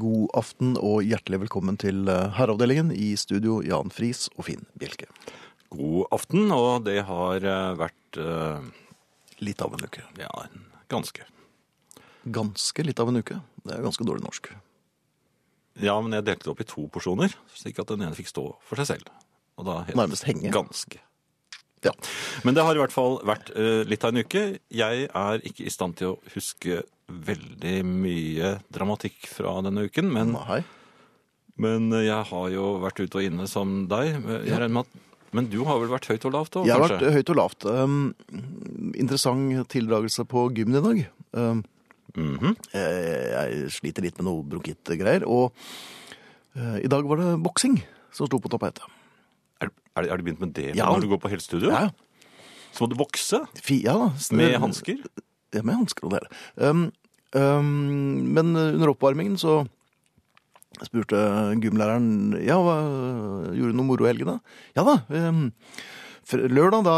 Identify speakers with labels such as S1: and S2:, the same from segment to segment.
S1: God aften og hjertelig velkommen til eh, Herreavdelingen i studio Jan Friis og Finn Bjelke.
S2: God aften, og det har eh, vært eh,
S1: Litt av en uke.
S2: ja, en ganske.
S1: Ganske litt av en uke. Det er jo ganske dårlig norsk.
S2: Ja, men jeg delte det opp i to porsjoner, slik at den ene fikk stå for seg selv. Og da het
S1: Nærmest henge.
S2: ganske.
S1: Ja.
S2: Men det har i hvert fall vært eh, litt av en uke. Jeg er ikke i stand til å huske veldig mye dramatikk fra denne uken, men,
S1: Nei.
S2: men jeg har jo vært ute og inne som deg. Jeg regner med at men du har vel vært høyt og lavt òg,
S1: Jeg har
S2: kanskje?
S1: vært eh, høyt og lavt. Um, interessant tildragelse på gymmen i dag. Um,
S2: Mhm.
S1: jeg, jeg sliter litt med noe bronkittgreier. Og eh, i dag var det boksing som sto på tapetet.
S2: Er, er, er du begynt med det
S1: Ja.
S2: når du går på helsestudio?
S1: Ja,
S2: Så må du vokse
S1: fi, ja da.
S2: med hansker?
S1: Ja, med hansker og det. hele. Um, um, men under oppvarmingen så spurte gymlæreren ja, hva, gjorde du noe moro i helgen da? Ja da. Um, fr- lørdag da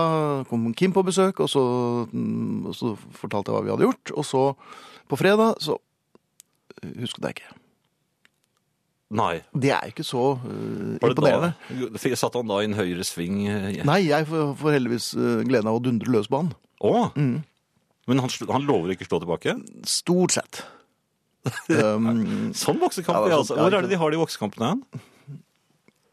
S1: kom Kim på besøk, og så, mm, og så fortalte jeg hva vi hadde gjort. Og så på fredag så husket jeg ikke.
S2: Nei.
S1: Det er ikke så uh,
S2: Var det
S1: imponerende.
S2: da- F- Satt han da i en høyere sving? eh,
S1: Nei, jeg får får heldigvis uh, gleden av å dundre løs på han.
S2: Å! Men han, sl- han lover ikke å slå tilbake?
S1: Stort sett. Um,
S2: Sånn boksekamp,
S1: Ja, det
S2: ja,
S1: er
S2: altså.
S1: sånn-
S2: Hvor
S1: ja,
S2: er det de har de boksekampene hen?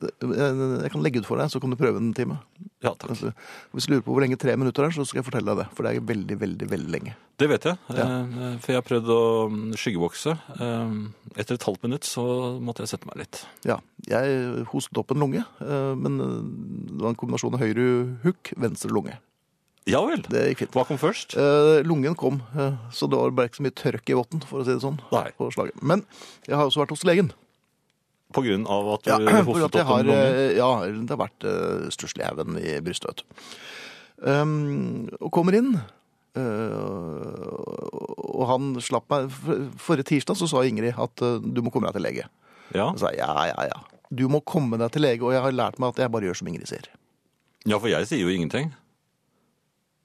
S1: jeg eh, jeg kan legge ut for deg, så kan du prøve den en time.
S2: Ja, takk.
S1: Altså, hvis du lurer på hvor lenge tre minutter er, så skal jeg fortelle deg det. For det er veldig, veldig veldig lenge.
S2: Det vet jeg. eh, For jeg har prøvd å mm, skyggebokse. Eh, Etter et halvt minutt så måtte jeg sette meg litt.
S1: Ja, Jeg hostet opp en lunge, eh, men eh, det var en kombinasjon av høyre hook, venstre lunge.
S2: Ja vel.
S1: Det gikk fint.
S2: Hva kom først?
S1: Eh, Lungen kom, eh, så det var bare ikke så mye tørk i votten, for å si det sånn.
S2: Nei.
S1: på slaget. Men jeg har også vært hos legen.
S2: På grunn av at du
S1: Ja, for
S2: hostet
S1: at
S2: opp
S1: jeg har,
S2: en lunge?
S1: eh, ja, det har vært uh, stussligheven i brystet. vet du. Um, og kommer inn, eh, og han slapp meg. For- Forrige tirsdag så sa Ingrid at eh, du må komme deg til lege.
S2: Ja.
S1: Jeg sa ja, ja, ja. Du må komme deg til lege, og jeg har lært meg at jeg bare gjør som Ingrid sier.
S2: ja, for jeg sier jo ingenting.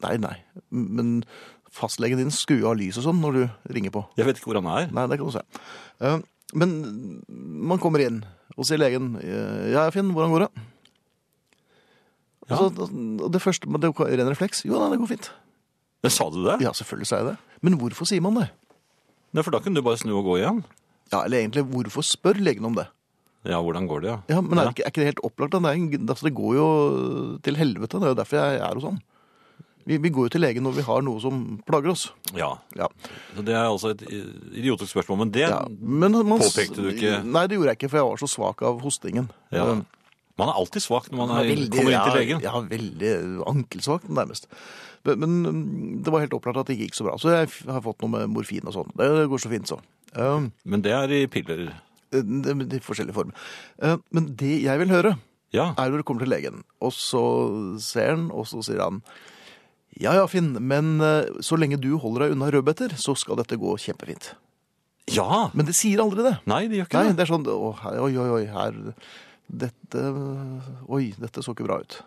S1: Nei, nei, men fastlegen din skrur jo av lyset og sånn når du ringer på.
S2: Jeg vet ikke hvor han er.
S1: Nei, det kan du se. Eh, Men man kommer inn og sier legen eh, Ja, Finn, hvordan går det?
S2: Ja.
S1: Og så, og det første, men det er jo ren refleks. Jo da, det går fint.
S2: Men Sa du det?
S1: Ja, selvfølgelig sier jeg det. Men hvorfor sier man det?
S2: Nei, for da kunne du bare snu og gå igjen.
S1: Ja, Eller egentlig, hvorfor spør legen om det?
S2: Ja, hvordan går det, ja?
S1: Ja, Men er, det ikke, er ikke det helt opplagt? da? Det, er en, altså, det går jo til helvete. Det er jo derfor jeg er hos han. Vi, vi går jo til legen når vi har noe som plager oss.
S2: Ja.
S1: Ja.
S2: Så det er altså et eh, idiotisk spørsmål, men det
S1: ja. Men man,
S2: Påpekte du ikke-
S1: Nei, det gjorde jeg ikke, for jeg var så svak av hostingen. Eh,
S2: Ja.
S1: Men-
S2: Man er alltid svak når man er,
S1: veldig-
S2: kommer inn til
S1: ja,
S2: legen.
S1: Ja, veldig ankelsvakt nærmest. Men, men mm, det var helt opplagt at det ikke gikk så bra. Så jeg f- har fått noe med morfin og sånn. Det går så fint så. Um,
S2: Men det er i piller.
S1: det, det er forskjellige former. Uh, men det jeg vil høre,
S2: Ja.
S1: er når du kommer til legen, og så ser han, og så sier han ja, ja, Finn, men eh, så lenge du holder deg unna rødbeter, så skal dette gå kjempefint.
S2: ja.
S1: Men det sier aldri det.
S2: Nei, det gjør ikke
S1: Nei,
S2: det.
S1: det er sånn, å, her- oi, oi, oi, her, dette, oi, dette så ikke bra ut.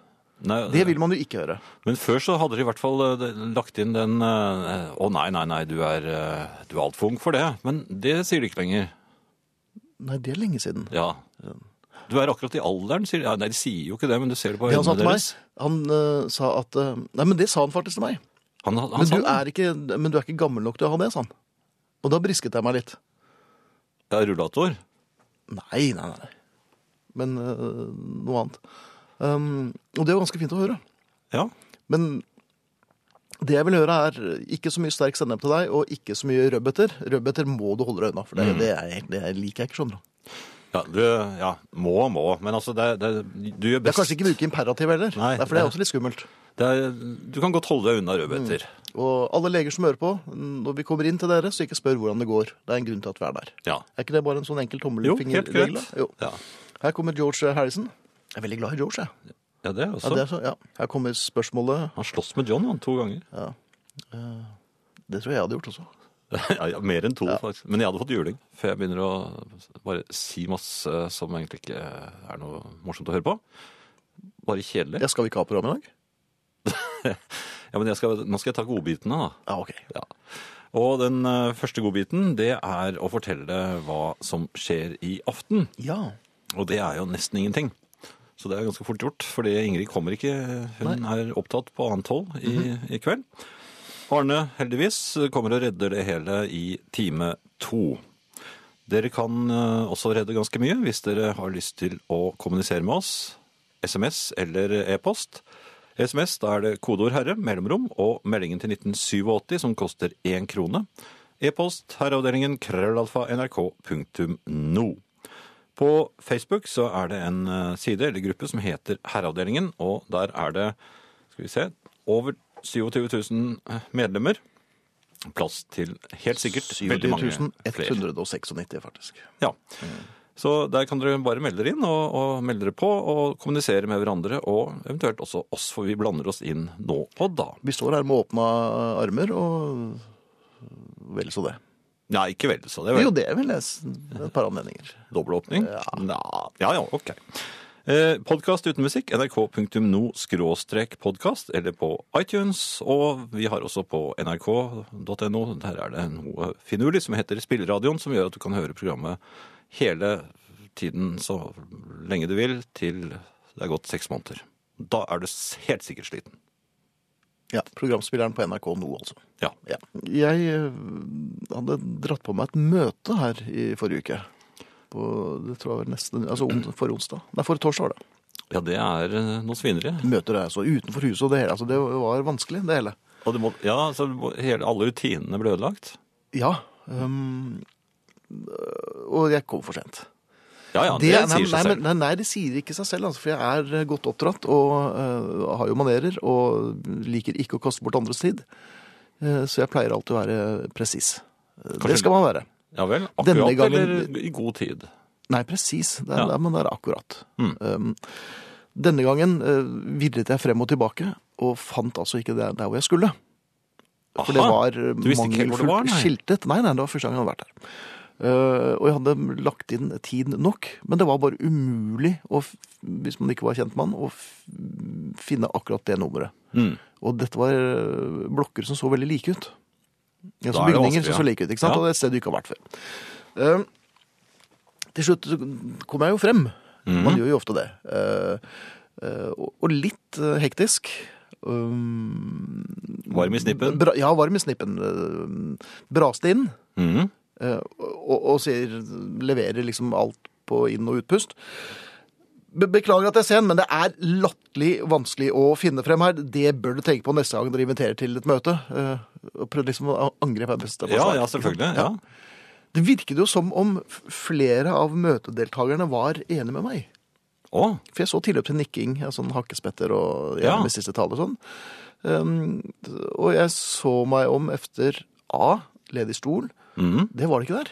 S2: Nei,
S1: Det vil man jo ikke høre.
S2: Men før så hadde de i hvert fall eh, lagt inn den eh, Å nei, nei, nei, du er, eh, du er altfor ung for det. Men det sier de ikke lenger.
S1: Nei, det er lenge siden.
S2: Ja. Du er akkurat i alderen, sier de. Ja, Nei, de sier jo ikke det, men du ser det på
S1: Det han sa
S2: øynene
S1: til meg,
S2: deres.
S1: han eh, sa at eh, Nei, men det sa han faktisk til meg.
S2: Han, han,
S1: Men
S2: sa
S1: du,
S2: det.
S1: er ikke, men du er ikke gammel nok til å ha det, sa han. Og da brisket jeg meg litt.
S2: Ja, rullator.
S1: Nei, nei, nei. Men eh, noe annet. Um, og det er jo ganske fint å høre.
S2: Ja.
S1: Men det jeg vil høre, er ikke så mye sterk sennep til deg, og ikke så mye rødbeter. Rødbeter må du holde deg unna,
S2: Mm.
S1: for det, det, er, det liker jeg ikke, skjønner du.
S2: Ja, du, ja, må, må. Men altså, det, det, du gjør
S1: Jeg
S2: best.
S1: kan kanskje ikke bruke imperativ heller,
S2: Nei,
S1: Nei, for det er
S2: det-
S1: også litt skummelt.
S2: Det er, du kan godt holde deg unna rødbeter.
S1: Og alle leger som hører på, når vi kommer inn til dere, så ikke spør hvordan det går. Det er en grunn til at vi er der.
S2: Ja.
S1: Er ikke det bare en sånn enkel
S2: Jo,
S1: tommelfingerregel?
S2: helt greit.
S1: da? Jo.
S2: Ja.
S1: Her kommer George Harrison. Jeg er veldig glad i George, jeg.
S2: ja, det er
S1: Ja,
S2: også.
S1: det er så, ja. Her kommer spørsmålet.
S2: Han slåss med John han, to ganger.
S1: Det tror jeg jeg hadde gjort også.
S2: Ja, ja, mer enn to, faktisk. Men jeg hadde fått juling. For jeg begynner å bare si masse som egentlig ikke er noe morsomt å høre på. Bare kjedelig.
S1: Ja, skal vi ikke ha program i dag?
S2: Ja, men jeg skal, nå skal jeg ta godbitene, da.
S1: Ja, ok.
S2: Ja. Og den eh, første godbiten, det er å fortelle hva som skjer i aften.
S1: Ja.
S2: Og det er jo nesten ingenting. Så det er ganske fort gjort, fordi Ingrid kommer ikke. Hun er opptatt på annet hold i, i kveld. Arne, heldigvis, kommer og redder det hele i time to. Dere kan eh, også redde ganske mye hvis dere har lyst til å kommunisere med oss. SMS eller e-post. SMS, da er det kodeord 'herre', mellomrom og meldingen til 1987 som koster én krone. E-post herreavdelingen krøllalfa nrk.no. På Facebook så er det en eh, side eller gruppe som heter Herreavdelingen, og der er det skal vi se, over 27 000 medlemmer. Plass til helt sikkert veldig mange
S1: 70
S2: flere.
S1: 196, faktisk.
S2: Ja. Så der kan dere bare melde dere inn og, og melde dere på og kommunisere med hverandre, og eventuelt også oss, for vi blander oss inn nå og da.
S1: Vi står her med åpna armer, og vel så det.
S2: Nei, ikke veldig, så det er
S1: Jo,
S2: vel
S1: det vil jeg s- et par anledninger.
S2: dobbelåpning. Ja. ja, ja, ok. Eh, podkast uten musikk, nrk.no skråstrek podkast, eller på iTunes. Og vi har også på nrk.no, der er det noe finurlig som heter Spilleradioen, som gjør at du kan høre programmet hele tiden så lenge du vil, til det er gått seks måneder. Da er du s- helt sikkert sliten.
S1: Ja, Programspilleren på NRK nå, altså.
S2: Ja.
S1: Ja. Jeg eh, hadde dratt på meg et møte her i forrige uke. På, det tror jeg var nesten, altså on- for onsdag. Nei, for torsdag var det.
S2: ja, det er eh, noe svineri.
S1: Møter er altså utenfor huset og det hele. Altså, det var vanskelig, det hele.
S2: Og du må, ja, så du må- hele, alle rutinene ble ødelagt.
S1: Ja. Um, og jeg kom for sent.
S2: Ja, ja, det,
S1: Det- nei,
S2: sier seg
S1: nei,
S2: selv.
S1: men- Nei, nei, det sier ikke seg selv, altså, for jeg er eh, godt oppdratt og eh, har jo manerer og liker ikke å kaste bort andres tid. Eh, så jeg pleier alltid å være presis. Eh,
S2: Kanskje-
S1: det skal man være.
S2: Ja vel.
S1: Denne
S2: Akkurat
S1: gangen-
S2: eller i god tid?
S1: Nei, presis. Det er,
S2: Ja.
S1: det er- men det er akkurat.
S2: Mm.
S1: Um, denne gangen eh, virret jeg frem og tilbake, og fant altså ikke der, der hvor jeg skulle. For det
S2: Aha.
S1: var eh,
S2: Du visste ikke helt hvor det var,
S1: mangelfullt
S2: nei?
S1: skiltet. Nei, nei, det var første gang jeg hadde vært der. Eh, og jeg hadde lagt inn tid nok, men det var bare umulig, å, f- hvis man ikke var kjent med han, å f- finne akkurat det nummeret.
S2: Mm.
S1: Og dette var eh, blokker som så veldig like ut. Ja,
S2: Da
S1: så
S2: er det
S1: bygninger
S2: vanskelig,
S1: som så
S2: ja.
S1: like ut, ikke sant?
S2: Ja.
S1: Og det er et sted du ikke har vært før. Eh, til slutt så kom jeg jo frem.
S2: Mhm.
S1: Man
S2: Mm.
S1: gjør jo ofte det. Eh, eh, og- og litt eh, hektisk. Um,
S2: Varm i snippen.
S1: Bra, ja, varm i snippen. Eh, Braste inn.
S2: Mhm.
S1: Eh, og, og sier, leverer liksom alt på inn- og utpust. Be beklager at jeg er sen, men det er latterlig vanskelig å finne frem her. Det bør du tenke på neste gang dere inviterer til et møte. Eh, og prøvde liksom å angripe her beste
S2: Ja,
S1: forsvar.
S2: ja, selvfølgelig. Ja.
S1: Det virket jo som om f- flere av møtedeltakerne var enige med meg.
S2: Å,
S1: For jeg så tilløp til nikking, ja, sånn hakkespetter og ja.
S2: Ja.
S1: med siste tale og sånn. Um, og jeg så meg om efter A, ledig stol.
S2: Mhm.
S1: Det var det ikke der.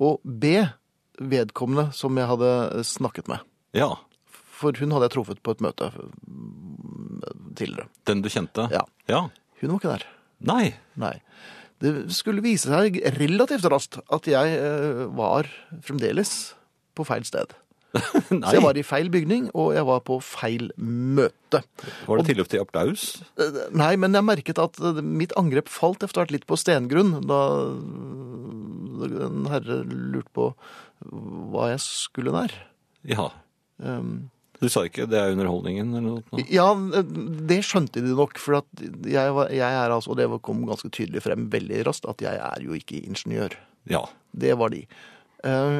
S1: Og B, vedkommende som jeg hadde snakket med.
S2: ja.
S1: For hun hadde jeg truffet på et møte mm, tidligere.
S2: Den du kjente?
S1: Ja.
S2: ja.
S1: Hun var ikke der.
S2: Nei.
S1: Nei. Det skulle vise seg relativt raskt at jeg eh, var fremdeles på feil sted.
S2: Nei.
S1: Så jeg var i feil bygning, og jeg var på feil møte.
S2: Var det tilløp til applaus?
S1: Eh, Nei, men jeg merket at eh, mitt angrep falt etter hvert litt på stengrunn, da eh, en herre lurte på hva jeg skulle der.
S2: Ja.
S1: Um,
S2: Du sa ikke det er underholdningen eller noe? sånt?
S1: Ja, det skjønte de nok, for at jeg, var, jeg er altså, og det kom ganske tydelig frem veldig raskt, at jeg er jo ikke ingeniør.
S2: Ja.
S1: Det var de. Eh,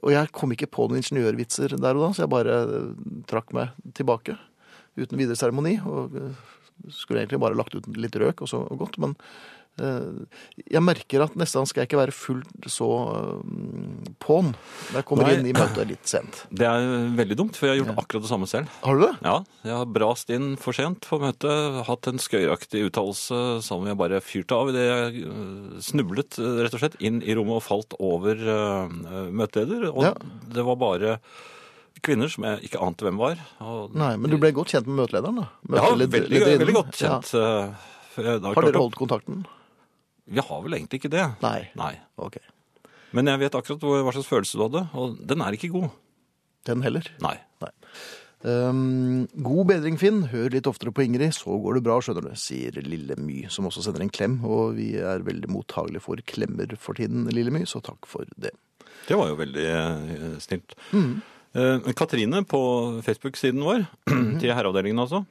S1: og jeg kom ikke på noen ingeniørvitser der og da, så jeg bare eh, trakk meg tilbake uten videre seremoni. Og eh, skulle egentlig bare lagt ut litt røk og så og godt, men eh, jeg merker at neste gang skal jeg ikke være fullt så eh, på'n. Jeg kommer
S2: Nei.
S1: inn i møtet litt sent.
S2: Det er veldig dumt, for jeg har gjort akkurat det samme selv.
S1: Har du det?
S2: Ja, Jeg har brast inn for sent på møtet, hatt en skøyeraktig uttalelse som jeg bare fyrte av idet jeg øh, snublet øh, rett og slett inn i rommet og falt over øh, øh, møteleder. Og
S1: Ja.
S2: det var bare kvinner som jeg ikke ante hvem var. Og
S1: Nei, men du ble godt kjent med møtelederen, da?
S2: Ja,
S1: Møteled-
S2: veldig,
S1: lederinnen.
S2: veldig godt
S1: Ja.
S2: kjent. eh, for jeg- det er
S1: Har
S2: klart
S1: dere
S2: at-
S1: holdt kontakten?
S2: Vi har vel egentlig ikke det.
S1: Nei.
S2: Nei.
S1: Ok.
S2: Men jeg vet akkurat hvor- hva slags følelse du hadde, og den er ikke god.
S1: Den heller?
S2: Nei.
S1: Ehm, god bedring, Finn. Hør litt oftere på Ingrid, så går det bra, skjønner du, sier Lille My, som også sender en klem. Og vi er veldig mottagelige for klemmer for tiden, Lille My, så takk for det. Mm,
S2: Det var jo veldig eh, snilt. Eh, Katrine på Facebook-siden vår, til herreavdelingen altså,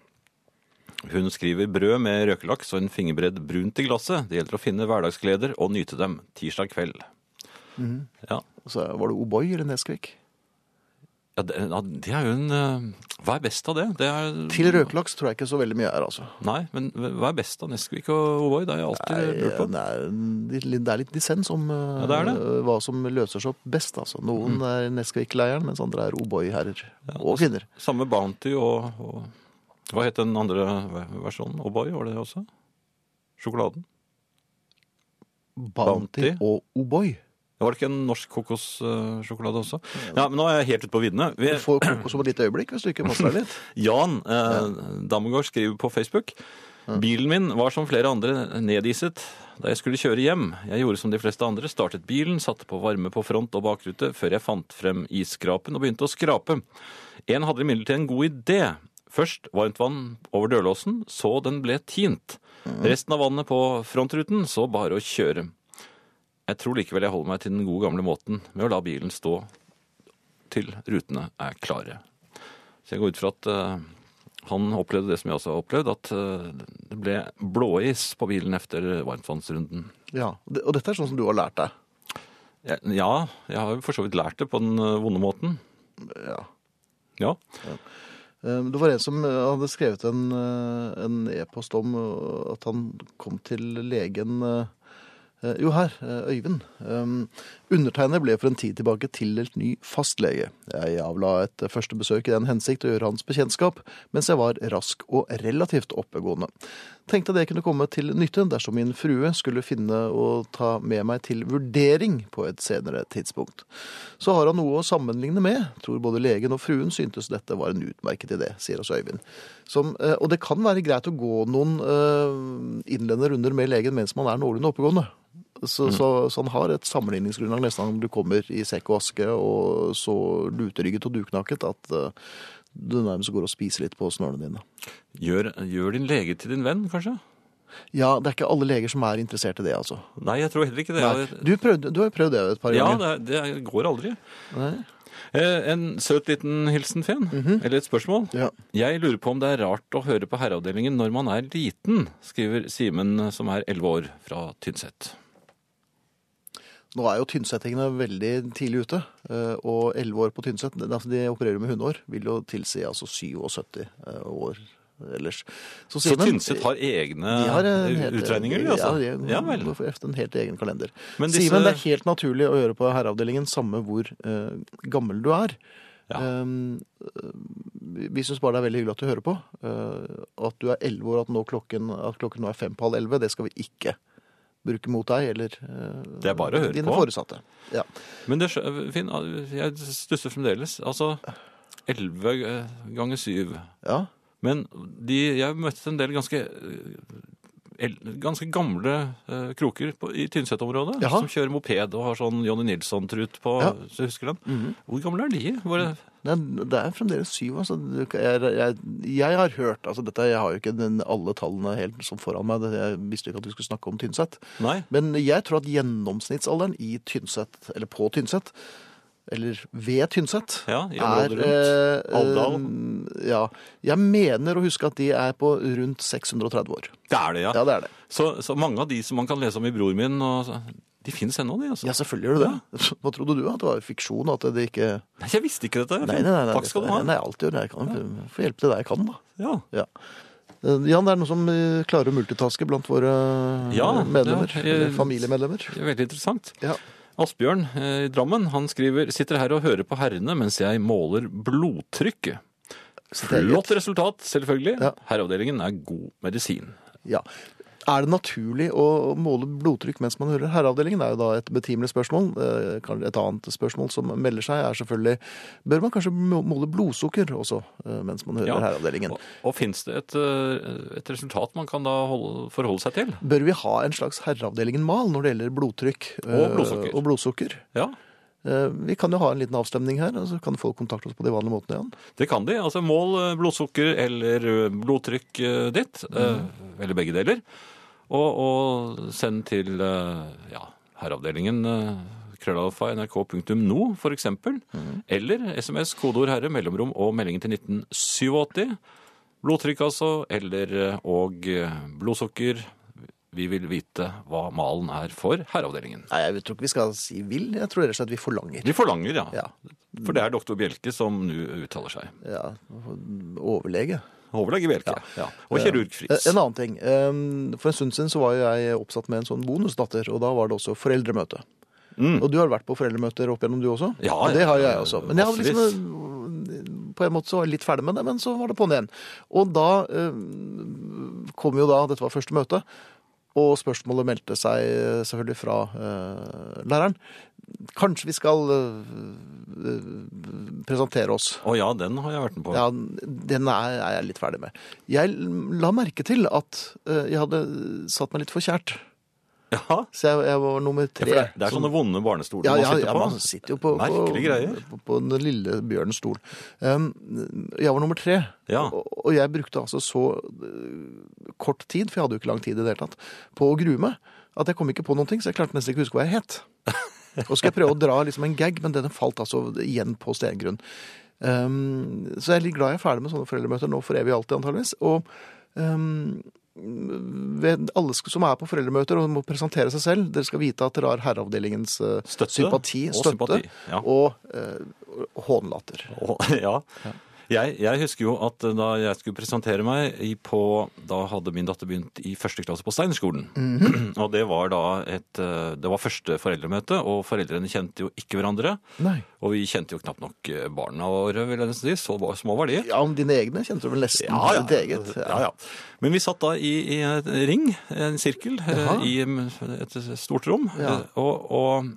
S2: hun skriver brød med røkelaks og en fingerbredd brunt i glasset. Det gjelder å finne hverdagsgleder og nyte dem tirsdag kveld. Ja.
S1: mm. Så var det O'boy eller Neskvik?
S2: Ja, det, ja, det er jo en eh, Hva er best av det? det er,
S1: Til røkelaks tror jeg ikke så veldig mye er, altså.
S2: Nei, men hva er best av Nesquik og Ovoid? Det har jeg alltid
S1: Nei,
S2: lurt på.
S1: det er, litt- det er litt dissens om eh,
S2: det Mm. er det.
S1: eh, hva som løser seg opp best. Altså. Noen er Neskvik-leiren, mens andre er O'boy-herrer
S2: altså,
S1: og kvinner.
S2: Samme Bounty og, og Hva het den andre versjonen? O'boy, var det det også? Sjokoladen?
S1: Bounty,
S2: Bounty.
S1: og O'boy.
S2: Det var det ikke en norsk kokossjokolade også? Ja, men nå er jeg helt ute på viddene. Vi,
S1: Du får kokos om et lite øyeblikk hvis du ikke master deg litt.
S2: Jan eh, Damgaard skriver på Facebook. Bilen min var som flere andre nediset da jeg skulle kjøre hjem. Jeg gjorde som de fleste andre, startet bilen, satte på varme på front og bakrute før jeg fant frem isskrapen og begynte å skrape. En hadde imidlertid en god idé. Først varmt vann over dørlåsen, så den ble tint. Resten av vannet på frontruten, så bare å kjøre. Jeg tror likevel jeg holder meg til den gode gamle måten med å la bilen stå til rutene er klare. Så jeg går ut fra at eh, han opplevde det som jeg også har opplevd, at eh, det ble blåis på bilen etter varmtvannsrunden.
S1: Ja, det- Og dette er sånn som du har lært deg.
S2: Jeg- Ja, jeg har jo for så vidt lært det på den eh, vonde måten.
S1: Ja.
S2: Ja.
S1: Eh, Det var en som eh, hadde skrevet en eh, en e-post om eh, at han kom til legen eh, eh, Jo, her. eh, Øyvind. Eh, Undertegnet ble for en tid tilbake tildelt ny fastlege. Jeg avla et eh, første besøk i den hensikt å gjøre hans bekjentskap, mens jeg var rask og relativt oppegående. Tenkte det kunne komme til nytte dersom min frue skulle finne å ta med meg til vurdering på et senere tidspunkt. Så har han noe å sammenligne med. Tror både legen og fruen syntes dette var en utmerket idé, sier oss Øyvind. Som, eh, og det kan være greit å gå noen eh, innledende runder med legen mens man er noenlunde oppegående. Så,
S2: Mm.
S1: så, så han har et sammenligningsgrunnlag nesten om du kommer i sekk og aske og så luterygget og duknaket at eh, du nærmest går og spiser litt på snørene dine.
S2: Gjør, gjør din lege til din venn, kanskje?
S1: Ja, det er ikke alle leger som er interessert i det, altså.
S2: Nei, jeg tror heller ikke det.
S1: Nei, du, prøvde, du har jo prøvd det et par
S2: ja,
S1: ganger.
S2: det, er- det går aldri.
S1: Nei?
S2: Eh, En søt liten hilsen, Fen. Eller et spørsmål.
S1: Ja.
S2: Jeg lurer på om det er rart å høre på herreavdelingen når man er liten, skriver Simen, som er 11 år, fra Tynset.
S1: Nå er jo tynnsettingene veldig tidlig ute, eh, og 11 år på Tynset, det- altså de opererer med hundeår, vil jo tilsi altså 77 eh, år ellers.
S2: Så
S1: Simen-
S2: Tynset har egne
S1: De har en helt-
S2: utregninger, de, altså?
S1: Ja, de,
S2: Ja vel.
S1: de får efter en helt egen kalender.
S2: Men disse-
S1: Simen, det er helt naturlig å gjøre på herreavdelingen samme hvor eh, gammel du er.
S2: Ja.
S1: Um, eh, vi- vi syns bare det er veldig hyggelig at du hører på. Eh, at du er elleve år, at, nå klokken, at klokken nå er fem på halv elleve, det skal vi ikke bruke mot deg eller eh,
S2: Det er bare å høre
S1: dine
S2: på.
S1: foresatte. Ja.
S2: Men det, skjø- Finn, jeg stusser fremdeles. Altså, 11 ganger 7.
S1: ja.
S2: Men de, jeg møtte en del ganske, eh, el- ganske gamle eh, kroker på, i Tynset-området
S1: Jaha.
S2: som kjører moped og har sånn Johnny Nilsson-trut på,
S1: Ja.
S2: så jeg husker den. Hvor gamle er de? Var det,
S1: Det er, det er fremdeles syv. Altså. Du kan- Jeg, jeg, jeg har hørt altså dette, Jeg har jo ikke den, alle tallene helt sånn foran meg. Det- Jeg visste ikke at vi skulle snakke om Tynset.
S2: nei,
S1: Men jeg tror at gjennomsnittsalderen i Tynset, eller på Tynset, eller ved Tynset
S2: ja, i området rundt.
S1: er, eh,
S2: Alvdal.
S1: eh, Ja. Jeg mener å huske at de er på rundt 630 år.
S2: Det er det, ja.
S1: Ja, det er det.
S2: Så, så mange av de som man kan lese om i Bror min, og, så- de finnes ennå, de. altså.
S1: Ja, selvfølgelig gjør du det. Hva trodde du? At det var fiksjon? At det ikke
S2: Nei, Jeg visste ikke dette.
S1: Nei, nei, nei. nei
S2: Takk skal du ha.
S1: Nei, alt gjør det jeg kan. Få hjelpe til det jeg kan, da.
S2: Ja.
S1: Ja. Eh, Jan, det er noen som eh, klarer å multitaske blant våre
S2: Ja,
S1: eh, medlemmer.
S2: ja, jeg-
S1: eller familiemedlemmer.
S2: Det er veldig interessant.
S1: Ja.
S2: Asbjørn eh, i Drammen han skriver sitter her og hører på herrene mens jeg måler blodtrykket. Flott resultat, selvfølgelig.
S1: Ja.
S2: Herreavdelingen er god medisin.
S1: Ja. Er det naturlig å måle blodtrykk mens man hører Herreavdelingen? Det er jo da et betimelig spørsmål. Eh, kan- Et annet spørsmål som melder seg, er selvfølgelig Bør man kanskje må- måle blodsukker også eh, mens man hører
S2: Ja.
S1: Herreavdelingen?
S2: Og, og fins det et, eh, et resultat man kan da holde, forholde seg til?
S1: Bør vi ha en slags Herreavdelingen-mal når det gjelder blodtrykk
S2: Og blodsukker.
S1: eh, og blodsukker?
S2: Ja.
S1: Eh, Vi kan jo ha en liten avstemning her, og så kan folk kontakte oss på de vanlige måtene igjen.
S2: Det kan de. altså Mål eh, blodsukker eller eh, blodtrykk eh, ditt, eh, eller begge deler. Og, og send til eh, ja, herreavdelingen eh, krøllalfa nrk.no for eksempel. Eller SMS, kodeord herre, mellomrom og meldingen til 1987. Blodtrykk altså, eller eh, og eh, blodsukker. Vi vil vite hva malen er for herreavdelingen.
S1: Nei, jeg tror ikke vi skal si vil, jeg tror rett og slett vi forlanger.
S2: Vi forlanger, ja.
S1: Ja,
S2: For det er doktor Bjelke som nå uttaler seg.
S1: ja overlege.
S2: Overlege Bjelke. Ja. Og kirurg Friis.
S1: Eh, En annen ting. Eh, For en stund siden så var jo jeg oppsatt med en sånn bonusdatter, og da var det også foreldremøte.
S2: Mm.
S1: Og du har vært på foreldremøter opp gjennom du også?
S2: Ja,
S1: Og Det
S2: ja,
S1: har jo
S2: ja,
S1: jeg også. Men jeg hadde liksom eh, på en måte så var jeg litt ferdig med det, men så var det på'n igjen. Og da eh, kom jo da Dette var første møte, og spørsmålet meldte seg eh, selvfølgelig fra eh, læreren. Kanskje vi skal eh, eh, presentere oss.
S2: Å ja, den har jeg vært med på.
S1: Ja, den er, er jeg litt ferdig med. Jeg la merke til at eh, jeg hadde satt meg litt for kjært.
S2: Ja, for
S1: Så jeg, jeg var nummer tre.
S2: det, er- det er sånne vonde barnestoler
S1: sånn- ja, ja,
S2: man
S1: ja,
S2: sitter på.
S1: man sitter jo på, på,
S2: Merkelige greier.
S1: på, på den lille bjørnens stol. Um, jeg var nummer tre,
S2: Ja.
S1: og, og jeg brukte altså så eh, kort tid, for jeg hadde jo ikke lang tid i det hele tatt, på å grue meg, at jeg kom ikke på noen ting, så jeg klarte nesten ikke å huske hva jeg het. Og så skal jeg prøve å dra liksom en gag, men den falt altså igjen på stengrunn. Um, så jeg er litt glad jeg er ferdig med sånne foreldremøter nå for evig og alltid, antageligvis. Og um, ved alle sk- som er på foreldremøter og må presentere seg selv, dere skal vite at dere har herreavdelingens eh,
S2: Støtte
S1: sympati,
S2: og
S1: støtte
S2: sympati, ja.
S1: og eh, hånlatter.
S2: Og- ja. Jeg, jeg husker jo at eh, da jeg skulle presentere meg i på Da hadde min datter begynt i første klasse på Steinerskolen.
S1: Mhm.
S2: og det var da et eh, Det var første foreldremøte, og foreldrene kjente jo ikke hverandre.
S1: Nei.
S2: Og vi kjente jo knapt nok eh, barna våre, vil jeg nesten si. Så var- små var de.
S1: Ja, om dine egne kjente du vel nesten
S2: Ja, ja.
S1: ditt eget.
S2: Ja, ja. Men vi satt da i, i en ring, en sirkel, eh,
S1: Jaha.
S2: i mm, et stort rom.
S1: Ja.
S2: eh, Og, og